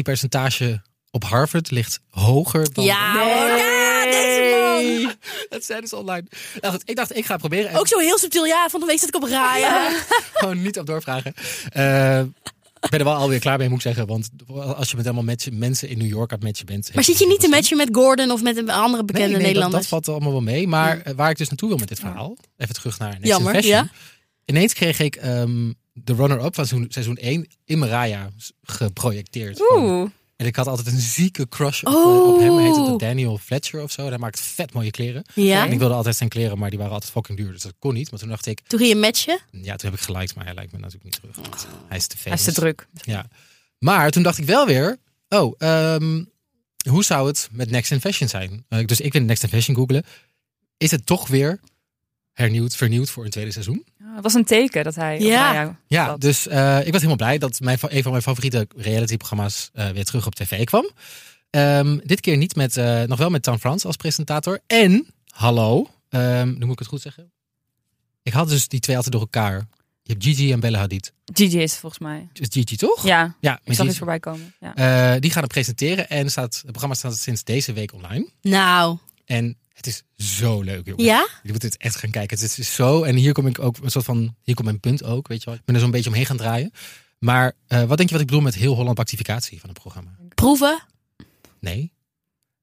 B: acceptatiepercentage op Harvard ligt hoger dan...
A: Ja, hoor. ja, deze man.
B: Dat zijn dus online. Nou goed, ik dacht, ik ga het proberen. En
A: Ook zo heel subtiel. Ja, van de week zat ik op Raya.
B: [LAUGHS] gewoon niet op doorvragen. Eh, ik ben er wel alweer klaar mee, moet ik zeggen. Want als je met allemaal matchen, mensen in New York aan het matchen bent...
A: Maar zit je niet te matchen met Gordon of met een andere bekende
B: nee, nee, dat-
A: Nederlander?
B: Dat, valt allemaal wel mee. Maar eh, waar ik dus naartoe wil met dit verhaal, even terug naar Next
A: Jammer,
B: in Fashion.
A: ja.
B: Ineens kreeg ik ehm, de runner-up van seizoen, seizoen 1 in Mariah geprojecteerd. Van-
C: Oeh.
B: En ik had altijd een zieke crush op, eh, op hem. Hij heette dat Daniel Fletcher of zo. Hij maakt vet mooie kleren.
A: Ja.
B: En ik wilde altijd zijn kleren, maar die waren altijd fucking duur. Dus dat kon niet. Maar toen dacht ik,
A: Toen ging je matchen.
B: ja, toen heb ik geliked, maar hij lijkt me natuurlijk niet terug. Want Hij is te
C: Hij is
B: famous.
C: te druk.
B: Ja. Maar toen dacht ik wel weer, oh, ehm, hoe zou het met Next in Fashion zijn? Eh, dus ik wil Next in Fashion googlen. Is het toch weer hernieuwd, vernieuwd voor een tweede seizoen?
C: Ja, Het was een teken dat hij.
A: Ja.
C: op Raya
B: Ja,
C: zat.
B: dus eh, ik was helemaal blij dat mijn, fa- een van mijn favoriete realityprogramma's eh weer terug op tv kwam. Ehm, dit keer niet met, eh, nog wel met Tan Frans als presentator. En, hallo, ehm, nu moet ik het goed zeggen. Ik had dus die twee altijd door elkaar. Je hebt Gigi en Bella Hadid.
C: Gigi is het volgens mij.
B: Dus Gigi toch?
C: Ja.
B: ja
C: Ik
B: met
C: zag
B: Gigi.
C: iets voorbij komen. Ja.
B: Eh, die gaan het presenteren en staat, het programma staat sinds deze week online.
A: Nou,
B: En Het is zo leuk, jongen.
A: Ja?
B: Je moet het echt gaan kijken. Het is zo. En hier kom ik ook een soort van. Hier komt mijn punt ook. Weet je wel. Ik ben er zo'n beetje omheen gaan draaien. Maar eh, wat denk je wat ik bedoel met heel Holland activicatie van het programma?
A: Proeven.
B: Nee.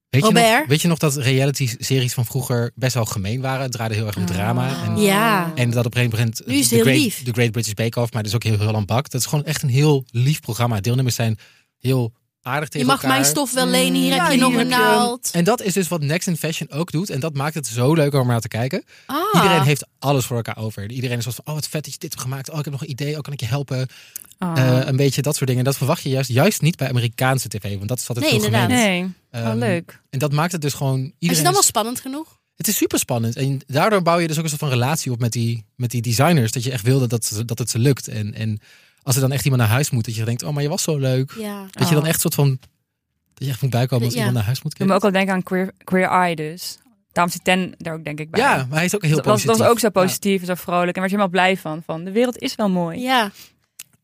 B: Weet Je nog,
A: Robert?
B: weet je nog dat reality-series van vroeger best wel gemeen waren? Het draaide heel erg om
C: Oh.
B: drama. En,
A: Ja.
B: en dat op een gegeven moment...
A: Ah. Nu is het
B: de
A: heel
B: Great,
A: lief.
B: De Great British Bake Off, maar dat is ook heel Holland Bak. Dat is gewoon echt een heel lief programma. Deelnemers zijn heel aardig
A: Je
B: tegen
A: mag
B: elkaar.
A: mijn stof wel lenen. Hier
C: Ja,
A: heb je
C: hier
A: nog
C: heb
A: een
C: je-
A: naald.
B: En dat is dus wat Next in Fashion ook doet. En dat maakt het zo leuk om naar te kijken.
A: Ah.
B: Iedereen heeft alles voor elkaar over. Iedereen is zoals van, oh wat vet dat je dit hebt gemaakt. Oh, ik heb nog een idee. Oh, kan ik je helpen?
C: Oh. Ah.
B: Eh, een beetje dat soort dingen. En dat verwacht je juist, juist niet bij Amerikaanse tv. Want dat is altijd
A: Nee,
B: veel
A: inderdaad.
B: gemeen.
C: nee.
B: Ehm,
C: oh, leuk.
B: En dat maakt het dus gewoon... Iedereen
A: Is het dan wel spannend genoeg?
B: Het is super spannend. En daardoor bouw je dus ook een soort van relatie op met die, met die designers. Dat je echt wil dat, dat, dat het ze lukt. En, en als er dan echt iemand naar huis moet, dat je denkt, oh, maar je was zo leuk.
A: Ja.
B: Dat je dan
C: Oh.
B: echt soort van. Dat je echt moet bijkomen als
A: Ja.
B: iemand naar huis moet
C: Ik moet
B: kijken.
C: ook al denken aan Queer, queer Eye dus. Daarom zit Ten daar ook denk ik bij.
B: Ja, maar hij is ook heel
C: dat was,
B: positief.
C: dat was ook zo positief en zo vrolijk. En werd je helemaal blij van. Van de wereld is wel mooi.
A: Ja.
B: Ja.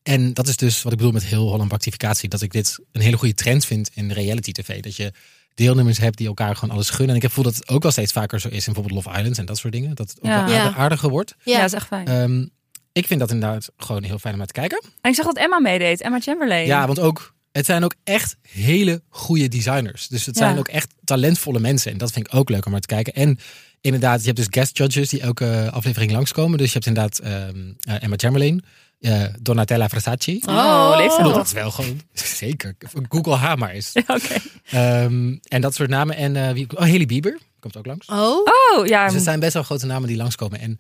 B: En dat is dus wat ik bedoel met heel Holland actificatie. Dat ik dit een hele goede trend vind in reality tv. Dat je deelnemers hebt die elkaar gewoon alles gunnen. En ik heb het gevoel dat het ook wel steeds vaker zo is. In bijvoorbeeld Love Islands en dat soort dingen. Dat het ook
C: Ja.
B: wel aardig-
A: Ja.
B: aardiger wordt.
C: Ja,
A: Ja.
C: dat is echt fijn.
B: Ehm, ik vind dat inderdaad gewoon heel fijn om naar te kijken.
C: en ik zag dat Emma meedeed. Emma Chamberlain.
B: Ja, want ook, het zijn ook echt hele goede designers. Dus het
C: Ja.
B: zijn ook echt talentvolle mensen. En dat vind ik ook leuk om naar te kijken. En inderdaad, je hebt dus guest judges die elke aflevering langskomen. Dus je hebt inderdaad ehm, eh, Emma Chamberlain, eh, Donatella Versace. Ik
C: Oh, leeft ze
B: bedoel,
C: nog? [LAUGHS]
B: Dat is wel gewoon, zeker, Google haar maar eens.
C: Oké.
B: Ehm, en dat soort namen. En eh, wie, oh, Haley Bieber komt ook langs.
A: Oh.
C: Oh, ja.
B: Dus het zijn best wel grote namen die langskomen. En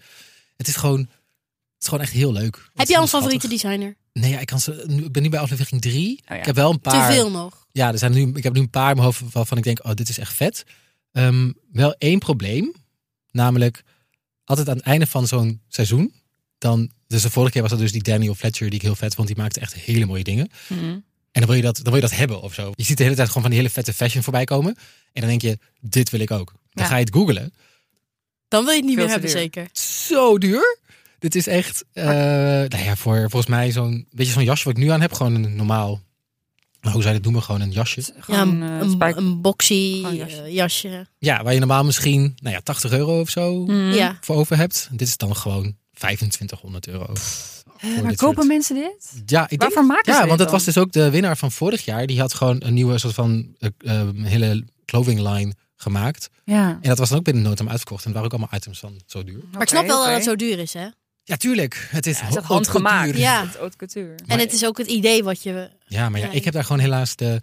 B: het is gewoon, het is gewoon echt heel leuk. Het
A: Heb jij
B: is heel
A: een favoriete
B: schattig.
A: designer?
B: Nee, ja, ik, kan ze, nu- ik ben nu bij aflevering drie.
C: ja.
B: Ik heb wel een paar.
A: Te veel nog.
B: Ja, er zijn nu, ik heb nu een paar in mijn hoofd waarvan ik denk, oh, dit is echt vet. Ehm, wel één probleem, namelijk altijd aan het einde van zo'n seizoen, dan, dus de vorige keer was dat dus die Daniel Fletcher die ik heel vet vond, die maakte echt hele mooie dingen.
C: Mhm.
B: En dan wil je dat, dan wil je dat hebben of zo. Je ziet de hele tijd gewoon van die hele vette fashion voorbij komen. En dan denk je, dit wil ik ook. Dan
C: Ja.
B: ga je het googlen.
A: Dan wil je het niet
C: Veel
A: meer
C: te
A: hebben,
C: duur.
A: zeker.
B: Zo duur. Dit is echt, eh, nou ja, voor volgens mij zo'n, weet je, zo'n jasje wat ik nu aan heb, gewoon een normaal, nou, hoe zou je dat noemen, gewoon een jasje.
A: Ja,
C: Gewoon,
A: een,
C: eh,
A: een,
C: spijk-
A: een boxy
C: Gewoon een jasje.
A: eh, jasje.
B: Ja, waar je normaal misschien nou ja, 80 euro of zo
C: Mhm.
A: Ja.
B: voor over hebt. Dit is dan gewoon 2500 euro.
C: Eh,
B: voor
C: maar
B: dit
C: kopen
B: soort-
C: mensen dit?
B: Ja, ik denk,
C: Waarvoor maken ze
B: ja
C: dit
B: want dat
C: dan?
B: was dus ook de winnaar van vorig jaar. Die had gewoon een nieuwe soort van eh, eh, hele clothing line gemaakt.
C: Ja.
B: En dat was dan ook binnen nood aan uitverkocht. En het waren ook allemaal items van zo duur.
A: Maar ik snap wel
C: eh,
A: dat het zo duur is, hè?
C: [LAUGHS]
B: Ja, tuurlijk. Het is,
C: Ja, het is
B: ho-
C: echt handgemaakt.
B: haute couture.
A: Ja.
C: Het is haute couture.
A: En het is ook het idee wat je...
B: Ja, maar ja,
A: Ja,
B: ik heb daar gewoon helaas de,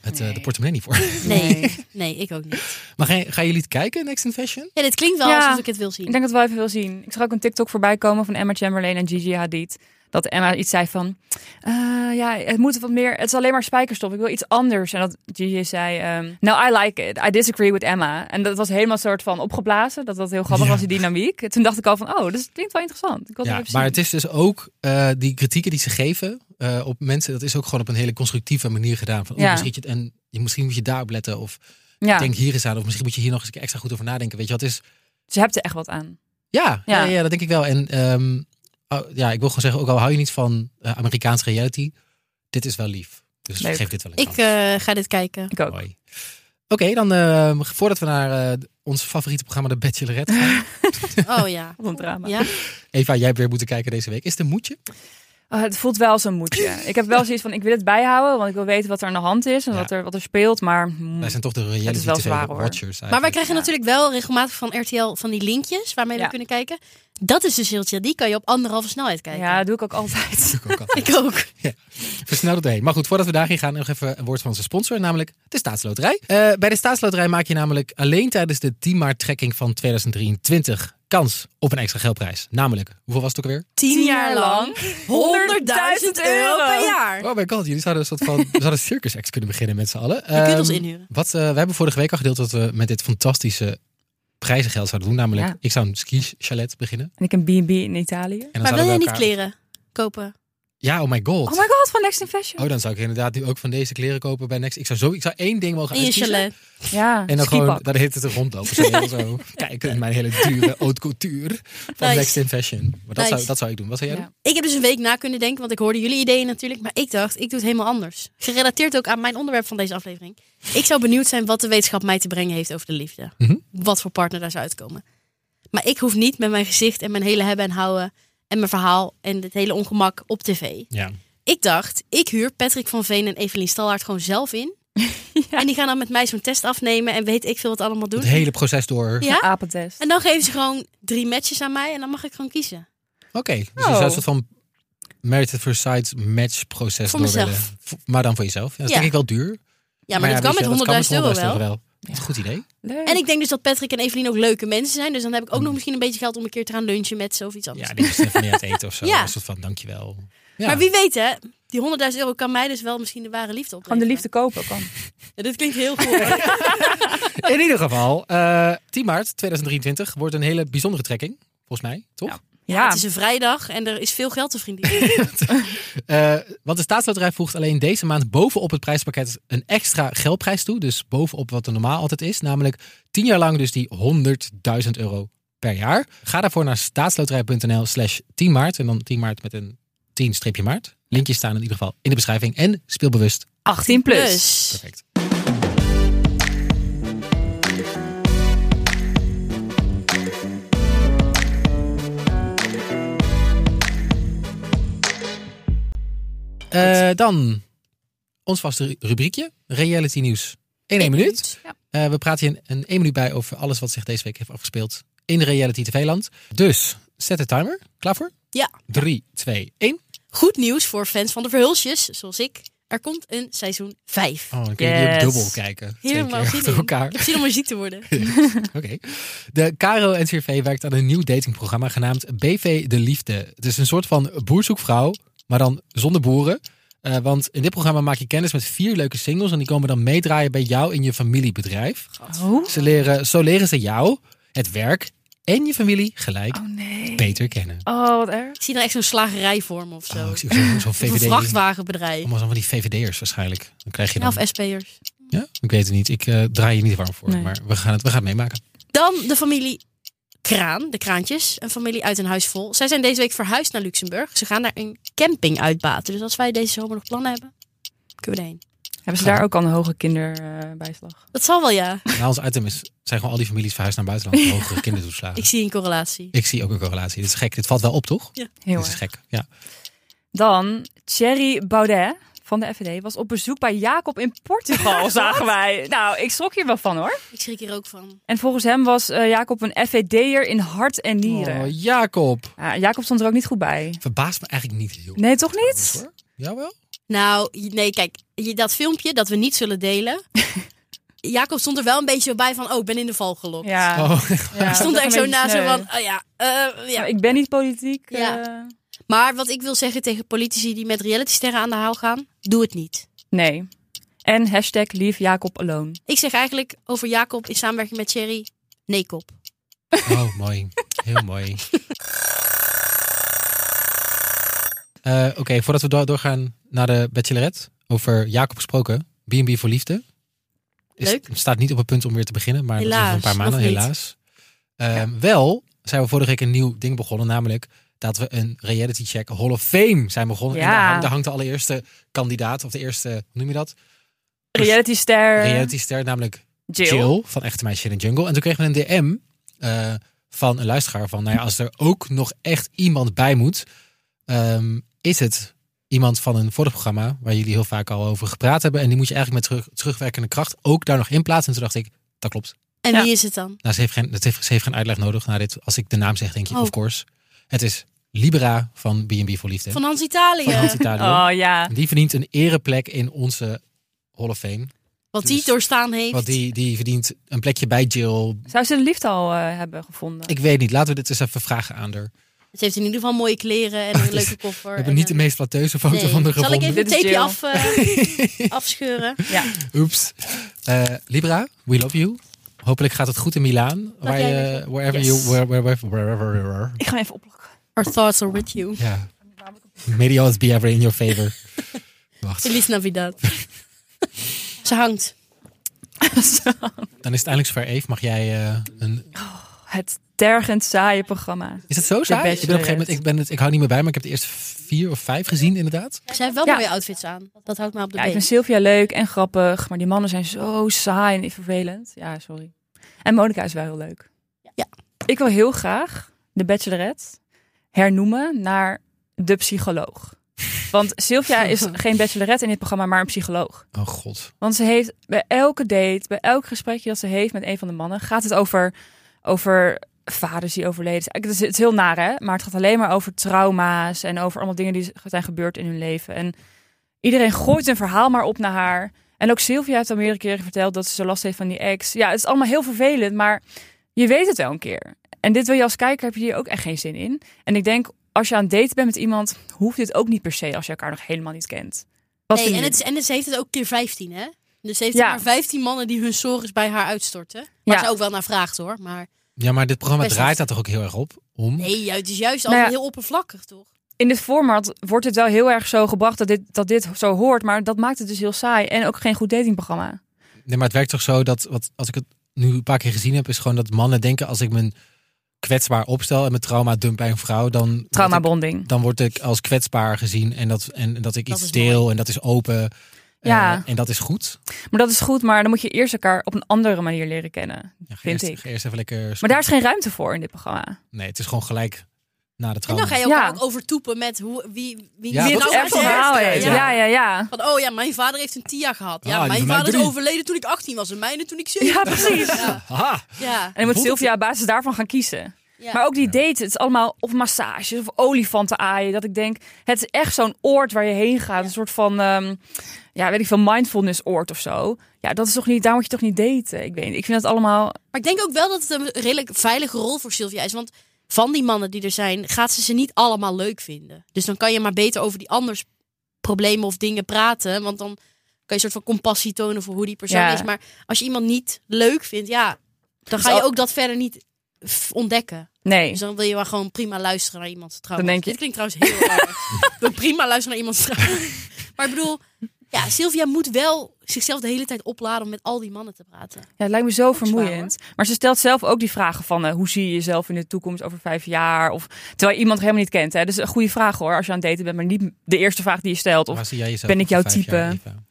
B: het, eh, de
C: Nee.
B: portemonnee niet voor. [LAUGHS]
A: Nee,
C: Nee.
A: [LAUGHS] nee, ik ook niet.
B: Maar ga, gaan jullie het kijken, Next in Fashion?
A: Ja, dit klinkt wel
C: Ja.
A: alsof ik het wil zien.
C: Ik denk dat we wel even wil zien. Ik zag ook een TikTok voorbij komen van Emma Chamberlain en Gigi Hadid. Dat Emma iets zei van, eh, ja, het moet wat meer, het is alleen maar spijkerstof. Ik wil iets anders. En dat Gigi zei, ehm no, I like it. I disagree with Emma. En dat was helemaal soort van opgeblazen. Dat dat heel grappig
B: Ja.
C: was, die dynamiek. Toen dacht ik al van, oh, dat klinkt wel interessant. Ik wil dat
B: Ja,
C: even zien.
B: maar het is dus ook eh, die kritieken die ze geven eh, op mensen, dat is ook gewoon op een hele constructieve manier gedaan. Van, oh,
C: Ja.
B: misschien, moet je het- en je, misschien moet je daarop letten, of
C: ja,
B: denk hier eens aan, of misschien moet je hier nog eens een keer extra goed over nadenken. Weet je wat is?
C: ze hebt er echt wat aan.
B: Ja, ja.
C: Ja.
B: ja, dat denk ik wel. En ehm, oh, ja, ik wil gewoon zeggen, ook al hou je niet van eh Amerikaanse reality, dit is wel lief. Dus
C: Leuk.
B: geef dit wel een
A: Ik
B: kans.
A: eh, ga dit kijken.
C: Ik ook.
B: Mooi. Oké, dan eh, voordat we naar eh, ons favoriete programma, de Bachelorette,
C: [LAUGHS]
B: gaan.
A: Oh ja.
C: Wat een drama.
A: Ja,
B: Eva, jij hebt weer moeten kijken deze week. Is het een moedje?
C: Ah, het voelt wel als een
A: [LAUGHS]
C: moedje. ik heb wel zoiets van, ik wil het bijhouden, want ik wil weten wat er aan de hand is en
B: Ja.
C: wat, er, wat er speelt. Maar mm,
B: Wij zijn toch de
C: wel
B: reality
C: zwaar, hoor.
B: tv-watchers.
A: maar wij
B: eigenlijk.
A: krijgen
C: Ja.
A: natuurlijk wel regelmatig van RTL van die linkjes waarmee we
C: Ja.
A: kunnen kijken. Dat is dus heel chill. Die kan je op anderhalve snelheid kijken.
C: ja, dat doe ik ook
B: [LAUGHS]
C: [LAUGHS] altijd.
B: Ik ook altijd.
A: Ik ook.
B: Versneld het heen. Maar goed, voordat we daarin gaan, nog even een woord van onze sponsor, namelijk de Staatsloterij. Eh, bij de Staatsloterij maak je namelijk alleen tijdens de 10 maart trekking van 2023 kans op een extra geldprijs. Namelijk, hoeveel was het ook weer?
A: Tien jaar lang. [LAUGHS] 100.000 euro per jaar.
B: Oh my god, jullie zouden een soort [LAUGHS] van we zouden circus acts kunnen beginnen met z'n allen.
A: Je kunt
B: Ehm,
A: ons inhuren.
B: Wat, eh, we hebben vorige week al gedeeld dat we met dit fantastische prijzengeld zouden doen. Namelijk,
C: Ja.
B: ik zou een ski chalet beginnen.
C: En ik een B&B in
B: En
C: Italië.
B: dan
A: Maar wil
B: zouden we
A: je niet
B: elkaar-
A: kleren kopen?
B: Ja, oh my god.
C: Oh my god, van Next in Fashion.
B: Oh, dan zou ik inderdaad nu ook van deze kleren kopen bij Next. Ik zou, zo, ik zou één ding mogen
A: In je
B: uitkiezen.
A: chalet.
C: ja,
B: En dan
C: skipak.
B: gewoon, daar heet het er rondlopen. Zo, heel
A: [LAUGHS]
B: zo. Kijk, in mijn hele dure haute couture van
A: Nice.
B: Next in Fashion. Maar dat,
A: Nice.
B: zou, dat zou ik doen. Wat zou jij
C: Ja.
B: doen?
A: Ik heb dus een week na kunnen denken, want ik hoorde jullie ideeën natuurlijk. Maar ik dacht, ik doe het helemaal anders. Gerelateerd ook aan mijn onderwerp van deze aflevering. Ik zou benieuwd zijn wat de wetenschap mij te brengen heeft over de liefde.
B: Mhm.
A: Wat voor partner daar zou uitkomen. Maar ik hoef niet met mijn gezicht en mijn hele hebben en houden... en mijn verhaal en het hele ongemak op tv.
B: Ja.
A: Ik dacht, ik huur Patrick van Veen en Evelien Stalhaard gewoon zelf
B: [LAUGHS]
A: in. En die gaan dan met mij zo'n test afnemen en weet ik veel wat allemaal doen.
B: Het hele proces door.
A: Ja?
C: Een apentest.
A: En dan geven ze gewoon drie matches aan mij en dan mag ik gewoon kiezen.
B: Oké, dus je
C: Oh.
B: zou een soort van Merit at First Sight match proces
A: Voor
B: door
A: mezelf.
B: willen. V- Maar dan voor jezelf. Ja, dat is
A: Ja.
B: denk ik wel duur.
A: Ja, maar,
B: Nou ja,
A: dat, kan
B: weet je,
A: met 100.000 euro wel.
B: Dat is een goed idee.
C: Leuk.
A: En ik denk dus dat Patrick en Evelien ook leuke mensen zijn. Dus dan heb ik ook nog misschien een beetje geld om een keer te gaan lunchen met ze of iets anders.
B: Ja, die is even meer aan het eten of
A: [LAUGHS]
B: zo.
A: Ja.
B: Een soort van dankjewel. Ja.
A: Maar wie weet hè, die 100.000 euro kan mij dus wel misschien de ware liefde opleveren.
C: Gewoon de liefde kopen kan.
A: Ja, dit klinkt heel goed.
B: In ieder geval, eh 10 maart 2023 wordt een hele bijzondere trekking. Volgens mij, toch?
C: Ja,
A: Het is een vrijdag en er is veel geld te
C: [LAUGHS]
A: verdienen.
B: Eh, want de staatsloterij voegt alleen deze maand bovenop het prijspakket een extra geldprijs toe. Dus bovenop wat er normaal altijd is. Namelijk 10 jaar lang dus die 100.000 euro per jaar. Ga daarvoor naar staatsloterij.nl slash 10 maart. En dan 10 maart met een 10 streepje maart. Linkjes staan in ieder geval in de beschrijving. En speel bewust.
C: 18 plus.
A: Dus,
B: Perfect. Eh, dan ons vaste rubriekje, reality nieuws. In één minuut. Eh, we praten hier een, een één minuut bij over alles wat zich deze week heeft afgespeeld in reality tv-land. Dus zet de timer. Klaar voor?
A: Ja.
B: 3, 2, 1.
A: Goed nieuws voor fans van de Verhulsjes, zoals ik. Er komt een seizoen 5.
B: Oh, dan kun je die ook
C: Yes.
B: dubbel kijken. Twee
A: Helemaal
B: keer [LAUGHS]
A: zin
B: achter
A: in.
B: elkaar.
A: Ik heb zin om weer ziek te
B: [LAUGHS]
A: worden.
B: Oké. De Caro NCRV werkt aan een nieuw datingprogramma genaamd BV De Liefde. Het is een soort van boerzoekvrouw, maar dan zonder boeren. Eh, want in dit programma maak je kennis met vier leuke singles en die komen dan meedraaien bij jou in je familiebedrijf.
C: Oh?
B: Ze leren, zo leren ze jou, het werk en je familie gelijk
C: Oh nee.
B: beter kennen.
C: Oh, wat erg.
A: Ik zie er echt zo'n slagerij voor me of zo.
B: Oh, ik
A: Of
B: zie ook
A: [LAUGHS]
B: zo'n zo'n
A: een
B: VVD. Allemaal
A: vrachtwagenbedrijf.
B: zo van die VVD'ers waarschijnlijk. Dan krijg je
A: Ja,
B: dan.
A: of SP'ers.
B: Ja? Ik weet het niet. Ik eh, draai je niet warm voor.
C: Nee.
B: Maar we gaan, het, we gaan het meemaken.
A: Dan de familie Kraan, de Kraantjes. Een familie uit een huis vol. Zij zijn deze week verhuisd naar Luxemburg. Ze gaan daar een camping uitbaten. Dus als wij deze zomer nog plannen hebben, kunnen we erheen.
C: Hebben ze daar ook al een hoge kinderbijslag?
A: Dat zal wel, ja.
B: Na ons item is, zijn gewoon al die families verhuisd naar het buitenland.
A: [LAUGHS]
B: Hogere kindertoeslagen.
A: Ik zie een correlatie.
B: Ik zie ook een correlatie. Dit is gek. Dit valt wel op, toch?
C: Heel
B: Dit is
C: erg.
B: gek. Ja.
C: Dan Thierry Baudet van de FVD was op bezoek bij Jacob in
A: [LAUGHS]
C: Portugal, zagen wij. Nou, ik schrok hier wel van hoor.
A: Ik schrik hier ook van.
C: En volgens hem was eh, Jacob een FVD'er in hart en nieren.
B: Oh, Jacob.
C: Ja, Jacob stond er ook niet goed bij.
B: Verbaast me eigenlijk niet heel
C: Nee, toch
B: erg,
C: niet?
B: hoor. Jawel?
A: Nou, nee, kijk. je- Dat filmpje dat we niet zullen delen. [LAUGHS] Jacob stond er wel een beetje bij van, oh, ik ben in de val gelokt.
C: Ja.
B: Oh,
C: ja,
A: Ik stond er
C: dat
A: echt
C: een
A: zo
C: beetje
A: na, zo
C: sneu.
A: van, oh ja, eh, ja.
C: Nou, Ik ben niet politiek.
A: Ja.
C: eh,
A: Maar wat ik wil zeggen tegen politici die met realitysterren aan de haal gaan, doe het niet.
C: nee. En hashtag leave Jacob alone.
A: Ik zeg eigenlijk over Jacob in samenwerking met Thierry, nee kop.
B: oh mooi. Heel mooi. Eh, Oké, voordat we do- doorgaan naar de bachelorette. Over Jacob gesproken. B&B voor liefde.
A: Leuk.
B: Het staat niet op het punt om weer te beginnen. Maar dat is
A: Helaas,
B: over een paar maanden,
A: nog niet.
B: helaas. Ehm, Wel zijn we vorige week een nieuw ding begonnen. Namelijk dat we een reality check Hall of Fame zijn begonnen. En
C: Ja.
B: daar hangt, daar hangt de allereerste kandidaat. Of de eerste, hoe noem je dat?
C: Reality ster.
B: reality ster, namelijk Jill.
C: Jill.
B: van Echte Meisje in de Jungle. En toen kregen we een DM eh, van een luisteraar van, nou ja, als er ook nog echt iemand bij moet, ehm, is het iemand van een vorig programma waar jullie heel vaak al over gepraat hebben. En die moet je eigenlijk met terug, terugwerkende kracht ook daar nog in plaatsen. En toen dacht ik, dat klopt.
A: En
C: Ja.
A: wie is het dan?
B: Nou, ze, heeft geen, het heeft, ze heeft geen uitleg nodig naar dit. Als ik de naam zeg, denk je,
A: Oh.
B: of course. Het is Libera van B&B voor Liefde.
A: Van eh, Hans Italië.
B: Van Hans Italië.
C: Oh ja.
B: Die verdient een ereplek in onze Hall of Fame.
A: wat die
B: dus-
A: doorstaan heeft.
B: Want die, die verdient een plekje bij Jill,
C: Zou ze de liefde al eh, hebben gevonden?
B: Ik weet niet. Laten we dit eens even vragen aan haar.
A: Ze heeft in ieder geval mooie kleren en een leuke koffer.
B: We
A: en
B: hebben niet de
A: een-
B: meest flatteuze foto
A: Nee.
B: van de
A: Zal ik
B: gevonden.
A: even
C: Dit
A: het
C: is
A: tapeje
C: Jill.
A: af,
B: [LAUGHS]
A: eh, afscheuren?
C: Ja.
B: Oeps. Eh, Libra, we love you. Hopelijk gaat het goed in Milaan. Waar
A: jij
B: je, wherever
A: Yes.
B: you, where- where- where- wherever, wherever,
C: Ik ga hem even oplokken.
A: Our thoughts are with you.
B: Ja. May the odds be ever in your favor. Wacht,
A: Feliz Navidad. Ze hangt.
B: dan is het eindelijk zover. Eve, mag jij eh, een...
C: [LAUGHS] Het tergend saaie programma.
B: Is het zo saai? Ik ben op een gegeven moment...
C: Bachelorette.
B: Ik, ben het, ik hou niet meer bij, maar ik heb de eerste vier of vijf gezien inderdaad.
A: Ze heeft wel
C: Ja.
A: mooie outfits aan. Dat houdt me op de
C: Ja, ik
A: been.
C: vind Sylvia leuk en grappig, maar die mannen zijn zo saai en vervelend. Ja, sorry. En Monica is wel heel leuk.
A: Ja.
C: Ik wil heel graag de Bachelorette hernoemen naar de psycholoog. Want Sylvia
A: [LAUGHS]
C: is geen Bachelorette in dit programma, maar een psycholoog.
B: Oh god.
C: Want ze heeft bij elke date, bij elk gesprekje dat ze heeft met een van de mannen, gaat het over, over vaders die overleden zijn. Het is, het is heel naar, hè? Maar het gaat alleen maar over trauma's en over allemaal dingen die z- zijn gebeurd in hun leven. En iedereen gooit een verhaal maar op naar haar. En ook Sylvia heeft al meerdere keren verteld dat ze zo last heeft van die ex. Ja, het is allemaal heel vervelend, maar je weet het wel een keer. En dit wil je als kijker, heb je hier ook echt geen zin in. En ik denk, als je aan het daten bent met iemand, hoeft dit ook niet per se als je elkaar nog helemaal niet kent.
A: Nee,
C: Wat
A: en,
C: vinden jullie?
A: het, is- en ze heeft het ook keer 15, hè? Dus ze heeft
C: Ja.
A: maar 15 mannen die hun sorgens bij haar uitstorten. Waar
C: Ja.
A: ze ook wel naar vraagt, hoor. Maar
B: Ja, maar dit programma
A: Best
B: draait
A: wel.
B: daar toch ook heel erg op? Om?
A: nee, het is juist
C: Nou
A: altijd
C: ja.
A: heel oppervlakkig, toch?
C: in dit format wordt het wel heel erg zo gebracht dat dit, dat dit zo hoort. Maar dat maakt het dus heel saai. En ook geen goed datingprogramma.
B: Nee, maar het werkt toch zo dat, wat, als ik het nu een paar keer gezien heb, is gewoon dat mannen denken als ik mijn kwetsbaar opstel en mijn trauma dump bij een vrouw, dan, word
C: Traumabonding.
B: ik, dan word ik als kwetsbaar gezien en dat, en dat ik
A: Dat
B: iets
A: is mooi.
B: deel en dat is open
C: Ja.
B: eh, en dat is goed.
C: Maar dat is goed, maar dan moet je eerst elkaar op een andere manier leren kennen.
B: Ja, ga
C: Vind
B: eerst,
C: ik.
B: ga eerst even lekker.
C: Maar daar is geen ruimte voor in dit programma.
B: Nee, het is gewoon gelijk na de
A: En
B: trauma.
A: dan ga je elkaar
C: Ja.
A: ook overtoepen met hoe, wie, wie
B: Ja,
A: wie
C: Wie
B: dat
C: het
B: is
A: nou
C: echt
B: echt
A: echt
C: verhaal
A: heeft.
C: heeft.
B: ja.
C: Ja, ja, ja.
A: Van, oh ja, mijn vader heeft een TIA gehad.
B: Ah,
A: Ja,
B: die
A: mijn
B: van mij
A: vader is
B: drie.
A: overleden toen ik 18 was en mijne toen ik 7
C: Ja, precies. En
B: Haha.
A: Ja.
C: dan moet
B: Voelt het-
C: Sylvia op basis daarvan gaan kiezen.
A: Ja.
C: Maar ook die dates, het is allemaal of massages of olifanten aaien. Dat ik denk, het is echt zo'n oord waar je heen gaat. Een soort van, ehm, ja, weet ik veel, mindfulness oord of zo. Ja, dat is toch niet, daar moet je toch niet daten? Ik weet niet, ik vind dat allemaal...
A: Maar ik denk ook wel dat het een redelijk veilige rol voor Sylvia is. Want van die mannen die er zijn, gaat ze ze niet allemaal leuk vinden. Dus dan kan je maar beter over die anders problemen of dingen praten. Want dan kan je een soort van compassie tonen voor hoe die persoon
C: Ja.
A: is. Maar als je iemand niet leuk vindt, ja, dan ga je
C: al-
A: ook dat verder niet f- ontdekken.
C: Nee.
A: Dus dan wil je maar gewoon prima luisteren naar iemands trouwens.
C: Dan denk je-
A: Dit klinkt trouwens heel erg.
C: [LAUGHS]
A: Ik wil prima luisteren naar iemands trouwens. Maar ik bedoel, ja, Sylvia moet wel zichzelf de hele tijd opladen om met al die mannen te praten.
C: Ja, het lijkt me zo
A: zwaar,
C: vermoeiend. maar ze stelt zelf ook die vragen van eh, hoe zie je jezelf in de toekomst over vijf jaar? Of terwijl je iemand helemaal niet kent. Hè? Dat is een goede vraag hoor, als je aan het daten bent, maar niet de eerste vraag die je stelt. Of
B: Waar zie jij jezelf?
C: Ben ik
B: over
C: jouw
B: vijf jaar,
C: type?
B: Eva?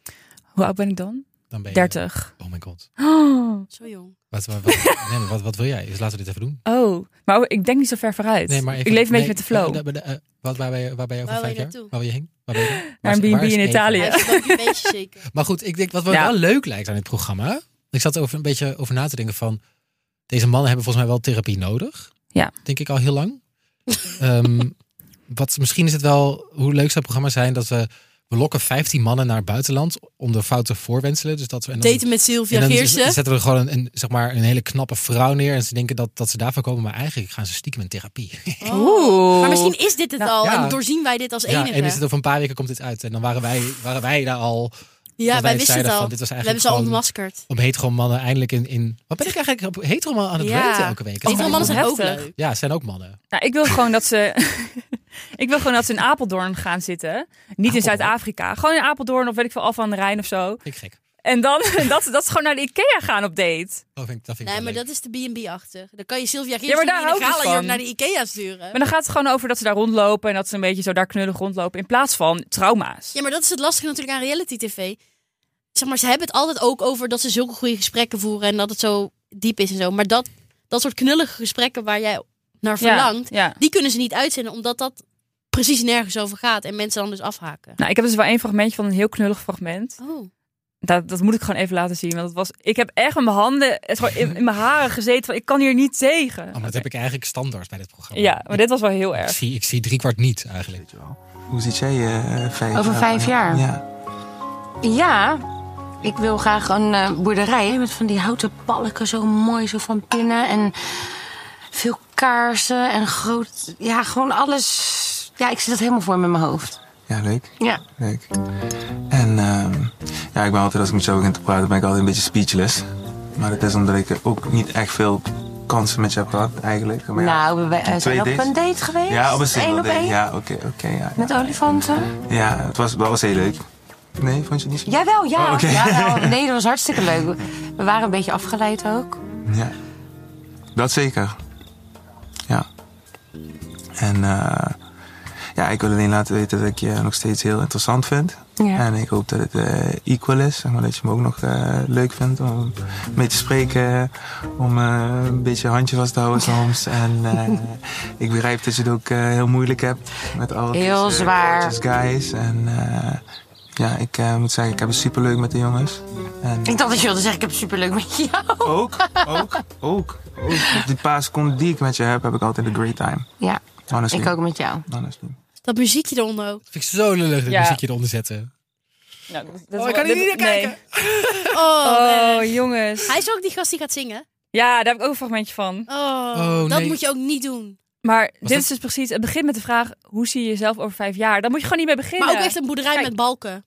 C: hoe oud ben ik dan?
B: Dan ben je
C: 30.
B: Oh mijn god.
C: Oh.
A: Zo jong.
B: Wat, wat, wat- [LAUGHS] nee, maar wat, wat wil jij? Dus laten we dit even doen.
C: Oh. maar ik denk niet zo ver vooruit.
B: Nee, maar even-
C: ik leef een
B: nee,
C: beetje met de flow.
B: eh, eh, eh, Wat, waar, ben je, waar ben je over
A: Waar wil
B: vijf
A: je
B: jaar?
A: naartoe?
B: Waar wil je heen? Waar
C: [LAUGHS]
B: ben je heen?
C: Naar een
B: Waar is- waar
C: B&B in
B: is Eva?
C: Italië.
A: Hij is ook een beetje
B: [LAUGHS]
A: zeker.
B: Maar goed, ik denk wat me
C: Ja.
B: wel leuk lijkt aan dit programma. Ik zat er over een beetje over na te denken van. Deze mannen hebben volgens mij wel therapie nodig.
C: Ja.
B: Denk ik al heel
C: [LAUGHS]
B: lang. Ehm, wat, misschien is het wel hoe leuk zou programma's zijn dat we. We lokken 15 mannen naar het buitenland om de fouten voorwenselen. Dus dat we, en dan-
A: Daten met
B: en
A: Sylvia
B: dan
A: Geersen.
B: zetten we er gewoon een, een, zeg maar, een hele knappe vrouw neer. En ze denken dat, dat ze daarvan komen. Maar eigenlijk gaan ze stiekem in therapie.
C: Oeh.
A: Oh. Maar misschien is dit het
C: Nou,
A: al
B: ja.
A: en doorzien wij dit als
B: Ja,
A: enige.
B: en is het over een paar weken komt dit uit. En dan waren wij, waren wij daar al.
A: ja,
B: dat
A: wij
B: wij
A: wisten het
B: zeiden
A: al.
B: van, dit was
A: we
B: eigenlijk
A: hebben ze al
B: gewoon-
A: ontmaskerd.
B: Om hetero mannen eindelijk in, in... Wat ben ik eigenlijk op hetero mannen aan het
A: Ja.
B: weten elke week?
A: Die van mannen zijn ook
C: heftig.
A: leuk.
B: Ja, het zijn ook mannen.
C: Nou, ik wil gewoon dat ze. [LAUGHS] ik wil gewoon dat ze in Apeldoorn gaan zitten. Niet in
B: Apeldoorn?
C: Zuid-Afrika. Gewoon in Apeldoorn of weet ik veel, Al van de Rijn of zo.
B: Vind ik gek.
C: En dan [LAUGHS] dat, dat ze gewoon naar de Ikea gaan op date.
B: Oh, vind ik, dat vind ik
A: Nee, maar
B: wel leuk.
A: dat is de B&B-achtig. Dan kan je Sylvia
C: Ja, maar
A: Geersen
C: daar
A: in een
C: hou ik dus
A: galenjurk
C: van.
A: naar de Ikea sturen.
C: Maar dan gaat het gewoon over dat ze daar rondlopen en dat ze een beetje zo daar knullig rondlopen. In plaats van trauma's.
A: Ja, maar dat is het lastige natuurlijk aan reality tv. Zeg maar, ze hebben het altijd ook over dat ze zulke goede gesprekken voeren en dat het zo diep is en zo. Maar dat, dat soort knullige gesprekken waar jij naar verlangt,
C: Ja, ja.
A: die kunnen ze niet uitzenden omdat dat precies nergens over gaat en mensen dan dus afhaken.
C: Nou, ik heb dus wel één fragmentje van een heel knullig fragment.
A: Oh.
C: Dat, dat moet ik gewoon even laten zien. Want dat was, ik heb echt met mijn handen, het gewoon in, in mijn haren gezeten. Van, ik kan hier niet tegen.
B: Oh, maar dat heb ik eigenlijk standaard bij dit programma.
C: Ja, maar dit was wel heel
B: Ik
C: erg.
B: zie, ik zie driekwart niet eigenlijk.
E: Hoe ziet jij je vijf
F: Over vijf jaar?
E: Ja.
F: Ja, ik wil graag een eh, boerderij met van die houten balken zo mooi zo van binnen. En veel kaarsen en groot... Ja, gewoon alles... Ja, ik zie dat helemaal voor me in mijn hoofd.
E: ja, leuk.
F: Ja.
E: leuk. En ehm, ja, ik ben altijd, als ik met jou begin te praten, ben ik altijd een beetje speechless. Maar dat is omdat ik er ook niet echt veel kansen met jou gehad eigenlijk. Maar ja.
F: Nou, we we- eh, zijn
E: Twee
F: we op
E: dates?
F: een date geweest.
E: ja, op een
F: Eén
E: single
F: op
E: date.
F: één.
E: Ja, oké, oké. ja, ja.
F: Met olifanten.
E: ja, het was, dat was heel leuk. Nee, vond je het niet zo?
F: Jawel, ja.
E: Oh, oké. [LAUGHS]
F: Jawel. Nee, dat was hartstikke leuk. We waren een beetje afgeleid ook.
E: Ja. Dat zeker. Ja. En eh, ja, ik wil alleen laten weten dat ik je nog steeds heel interessant vind.
F: Ja.
E: En ik hoop dat het eh, equal is. Zeg maar dat je me ook nog eh, leuk vindt om mee te spreken. Om eh, een beetje handje vast te houden soms. En eh, ik begrijp dat je het ook eh, heel moeilijk hebt. Met alle
F: Heel
E: deze
F: zwaar.
E: gorgeous guys. En eh, ja, ik eh, moet zeggen, ik heb het superleuk met de jongens. En,
F: Ik dacht dat je wilde zeggen, ik heb het superleuk met jou.
E: ook, ook, ook, ook. Die paar seconden die ik met je heb, heb ik altijd een great time.
F: Ja,
E: Honestly.
F: ik ook met jou.
E: Honestly.
A: Dat muziekje eronder
C: [LAUGHS]
A: ook.
B: Vind ik zo lullig dat
C: Ja.
B: muziekje eronder zetten.
C: Nou, dat- dat-
B: Oh, ik kan hier
C: dit-
B: niet naar
C: nee.
B: kijken.
A: Oh,
C: Oh,
A: nee.
C: jongens.
A: Hij is ook die gast die gaat zingen.
C: Ja, daar heb ik ook een fragmentje van.
A: Oh,
B: Oh,
A: dat
B: nee.
A: moet je ook niet doen.
C: Maar dit
B: dat-
C: is dus precies... Het begint met de vraag, hoe zie je jezelf over vijf jaar? Daar moet je gewoon niet mee beginnen.
A: Maar ook
C: [LAUGHS]
A: echt een boerderij
C: Kijk.
A: met
C: [LAUGHS]
A: balken.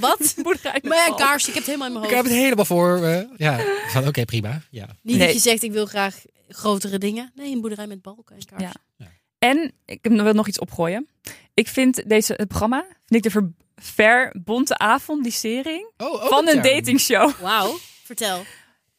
A: Wat?
C: Boerderij met
A: Maar ja,
C: balk.
A: kaars, ik heb het helemaal in mijn
B: Ik
A: hoofd.
B: heb het helemaal voor me. Ja, van oké, prima. Ja.
A: Niet
C: Nee.
A: dat je zegt, ik wil graag grotere dingen. Nee, een boerderij met balken en kaars.
C: Ja. En ik heb- wil nog iets opgooien. Ik vind deze, het programma, vind ik de ver, verbonte avondisering
B: Oh, ook
C: van
B: term.
C: een datingshow.
A: Wauw, vertel.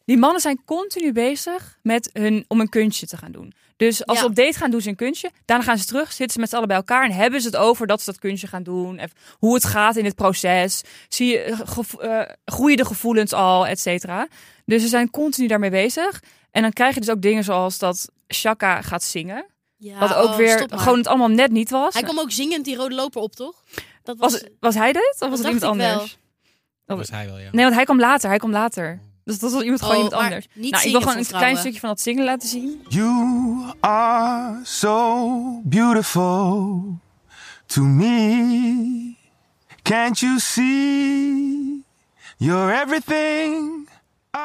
C: Die mannen zijn continu bezig met hun, om een kunstje te gaan doen. Dus als
A: Ja.
C: ze op date gaan, doen ze een kunstje. Daarna gaan ze terug, zitten ze met z'n allen bij elkaar en hebben ze het over dat ze dat kunstje gaan doen. En Hoe het gaat in het proces. Zie je, eh, gevo- eh, groeien de gevoelens al, et cetera. Dus ze zijn continu daarmee bezig. En dan krijg je dus ook dingen zoals dat Shaka gaat zingen.
A: Ja,
C: Wat ook
A: oh,
C: weer
A: stop maar.
C: gewoon het allemaal net niet was.
A: Hij kwam ook zingend die rode loper op, toch? Dat was...
C: Was, was hij dit? Of was het
A: Dus- dacht
C: iemand
A: ik wel.
C: anders?
B: Dat was hij wel, ja.
C: Nee, want hij kwam later. Hij kwam later. Dus dat was iemand, gewoon
A: Oh,
C: iemand
A: maar
C: anders.
A: niet
C: nou, ik
A: zingen
C: wil gewoon
A: voor
C: een klein
A: vrouwen.
C: stukje van dat zingen laten zien.
E: You are so beautiful to me. Can't you see? You're everything.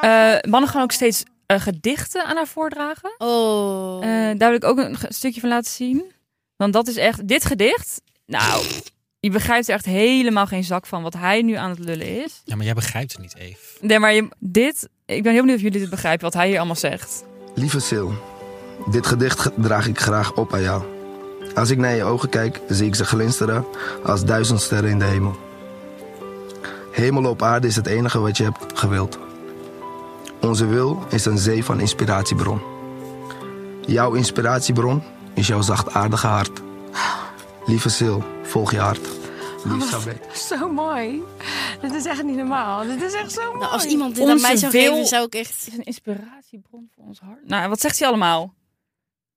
C: Eh, mannen gaan ook steeds eh, gedichten aan haar voordragen.
A: Oh.
C: Eh, daar wil ik ook een ge- stukje van laten zien. Want dat is echt... Dit gedicht... Nou, je begrijpt er echt helemaal geen zak van wat hij nu aan het lullen is.
B: Ja, maar jij begrijpt het niet, Eve.
C: Nee, maar je, dit... Ik ben heel benieuwd of jullie dit begrijpen, wat hij hier allemaal zegt.
G: Lieve Sil, dit gedicht draag ik graag op aan jou. Als ik naar je ogen kijk, zie ik ze glinsteren als duizend sterren in de hemel. Hemel op aarde is het enige wat je hebt gewild. Onze wil is een zee van inspiratiebron. Jouw inspiratiebron is jouw zachtaardige hart. Lieve Sil, volg je hart. Lief Sabet.
F: Zo mooi. Dit is echt niet normaal. Dit is echt zo mooi.
A: Nou, als iemand dit aan
C: Onze
A: mij zou
C: wil-
A: geven, zou ik echt...
C: Het is een inspiratiebron voor ons hart. Nou, wat zegt hij allemaal?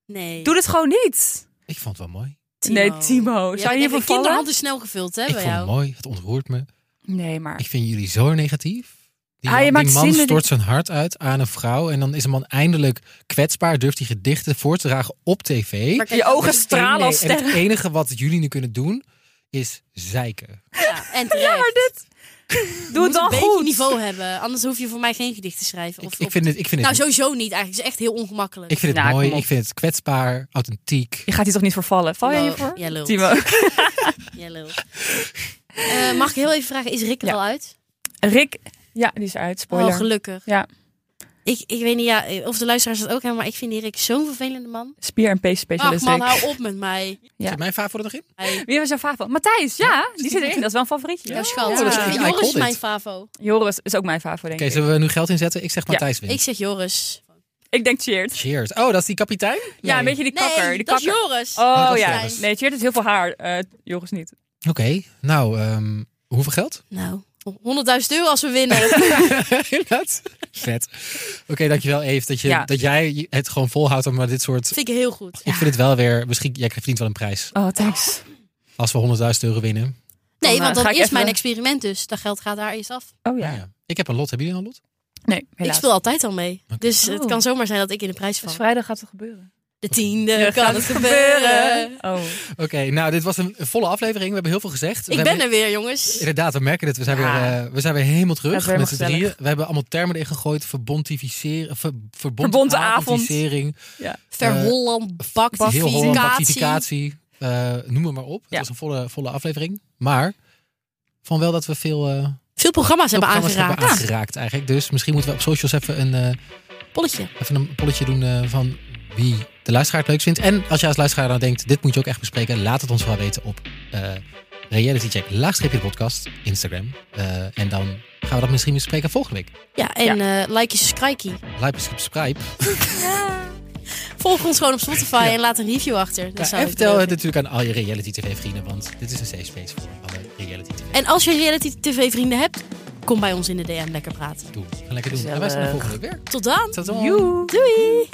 A: Nee.
C: Doe dit gewoon niet.
B: Ik vond het wel mooi.
C: Nee, Timo. Zou je hiervoor
A: De
C: vallen?
A: kinderhand is snel gevuld, hè,
B: Ik
A: bij
B: vond het
A: jou.
B: mooi. Het ontroert me.
C: Nee, maar...
B: Ik vind jullie zo negatief. Die,
C: Ah, je
B: man- die
C: maakt
B: man
C: zinnen die-
B: stort zijn hart uit aan een vrouw. En dan is een man eindelijk kwetsbaar. Durft die gedichten voor te dragen op tv.
A: Maar kijk,
C: Je ogen
B: Het
C: stralen
B: ene-
C: als
B: en
C: sterren.
B: het enige wat jullie nu kunnen doen, is zeiken.
A: Ja, en terecht.
C: [LAUGHS] Ja, maar dit... Doe
A: Je
C: het
A: moet een
C: dan
A: beetje
C: goed.
A: niveau hebben. Anders hoef je voor mij geen gedicht te schrijven. Of,
B: Ik, ik
A: of-
B: vind het, ik vind
A: Nou,
B: het,
A: sowieso niet eigenlijk. Het is echt heel ongemakkelijk.
B: ik vind het
C: Nou,
B: mooi.
C: kom op.
B: Ik vind het kwetsbaar, authentiek.
C: Je gaat hier toch niet voor vallen? Val jij
A: No,
C: hiervoor?
A: jij lult.
C: Timo.
A: Ja, lul. Eh, mag ik heel even vragen, is Rick er
C: Ja.
A: al uit?
C: Rick. Ja, die is eruit.
A: Oh,
C: Spoiler.
A: gelukkig.
C: Ja.
A: Ik, ik weet niet ja, eh, of de luisteraars dat ook hebben, maar ik vind die Rick zo'n vervelende man.
C: Spier- en
A: Ach
C: pees-specialist
A: man,
C: Rick.
A: hou op met mij.
C: Ja.
B: Zit mijn favoriet nog in?
A: Hij,
C: Wie was jouw favoriet? Matthijs, ja. Die zit erin. Dat is wel een favorietje.
A: jouw schat.
B: dat is- ik- ik
A: Joris
B: called
A: is
B: it.
A: mijn favo.
C: Joris is ook mijn favoriet,
B: Oké,
C: denk ik.
B: zullen we nu geld inzetten? Ik zeg
C: Ja.
B: Matthijs wint.
A: Ik zeg Joris.
C: Ik denk Cheert.
B: Cheers. Oh, dat is die kapitein?
C: Ja, een
B: Nee.
C: beetje die
A: Nee,
C: kakker. die
A: dat is
C: kakker.
A: Joris.
B: Oh,
C: Oh,
B: dat is
C: ja.
B: Joris.
C: Nee, Cheert heeft heel veel haar. Eh, Joris niet.
B: Oké, nou, ehm, hoeveel
C: [LAUGHS]
B: geld?
A: Nou, 100.000 euro als we [LAUGHS] winnen.
B: Inderdaad. Vet. Oké, dankjewel Eve dat, je,
C: Ja.
B: dat jij het gewoon volhoudt om maar dit soort...
A: vind ik heel goed.
B: Ik vind het wel weer, misschien, jij verdient wel een prijs.
C: Oh, thanks.
B: Als we 100.000 euro winnen.
A: Nee,
C: Dan,
A: want
C: eh,
A: Nou, dan
C: ga
A: is
C: ik even-
A: mijn experiment dus. Dat geld gaat daar eerst af.
C: Oh
B: Ja.
C: ja.
B: ja. Ik heb een lot. Hebben jullie een lot?
C: Nee, helaas.
A: Ik speel altijd al mee. Dus
C: Oh.
A: het kan zomaar zijn dat ik in de prijs
C: Dus
A: val.
C: vrijdag gaat het gebeuren.
A: De tiende kan het gebeuren.
C: Gebeuren. Oh.
B: Oké, nou, dit was een volle aflevering. We hebben heel veel gezegd.
A: Ik ben er weer, jongens.
B: Inderdaad, we merken het. We zijn,
C: Ja.
B: weer, eh, we zijn weer helemaal
C: Dat is
B: terug
C: weer
B: met z'n
C: helemaal
B: drieën.
C: gezellig.
B: We hebben allemaal termen erin gegooid. Verbontificeren. Ver, verbond,
C: Verbonten avond.
B: avondisering,
A: eh, Verholland, bakt,
B: Heel Holland
A: vakantie.
B: bactificatie. eh, noem het maar op. Het
C: Ja.
B: was een volle, volle aflevering. Maar van wel dat we veel, eh, veel
A: Veel programma's hebben
B: programma's
A: aangeraakt. Ah,
B: hebben aangeraakt eigenlijk. Dus misschien moeten we op socials even een, eh,
A: polletje.
B: Even een polletje doen eh, van wie de luisteraar het leuk vindt. En als je als luisteraar dan denkt, dit moet je ook echt bespreken. Laat het ons vooral weten op eh realitycheck laagstreepje de podcast, Instagram. Eh, en dan gaan we dat misschien bespreken volgende week.
A: Ja, en eh, like je subscribe.
B: Like, subscribe.
A: Volg ons gewoon op Spotify en laat een review achter. Dat
B: Ja,
A: zou
B: en
A: ik
B: vertel
A: leuk
B: het natuurlijk aan al je reality tv vrienden, want dit is een safe space voor alle reality tv
A: vinden. En als je reality tv vrienden hebt, kom bij ons in de DM lekker praten.
B: doen. Ga lekker doen. En wij zijn er volgende week weer.
A: Tot dan.
B: Tot dan.
A: Doei.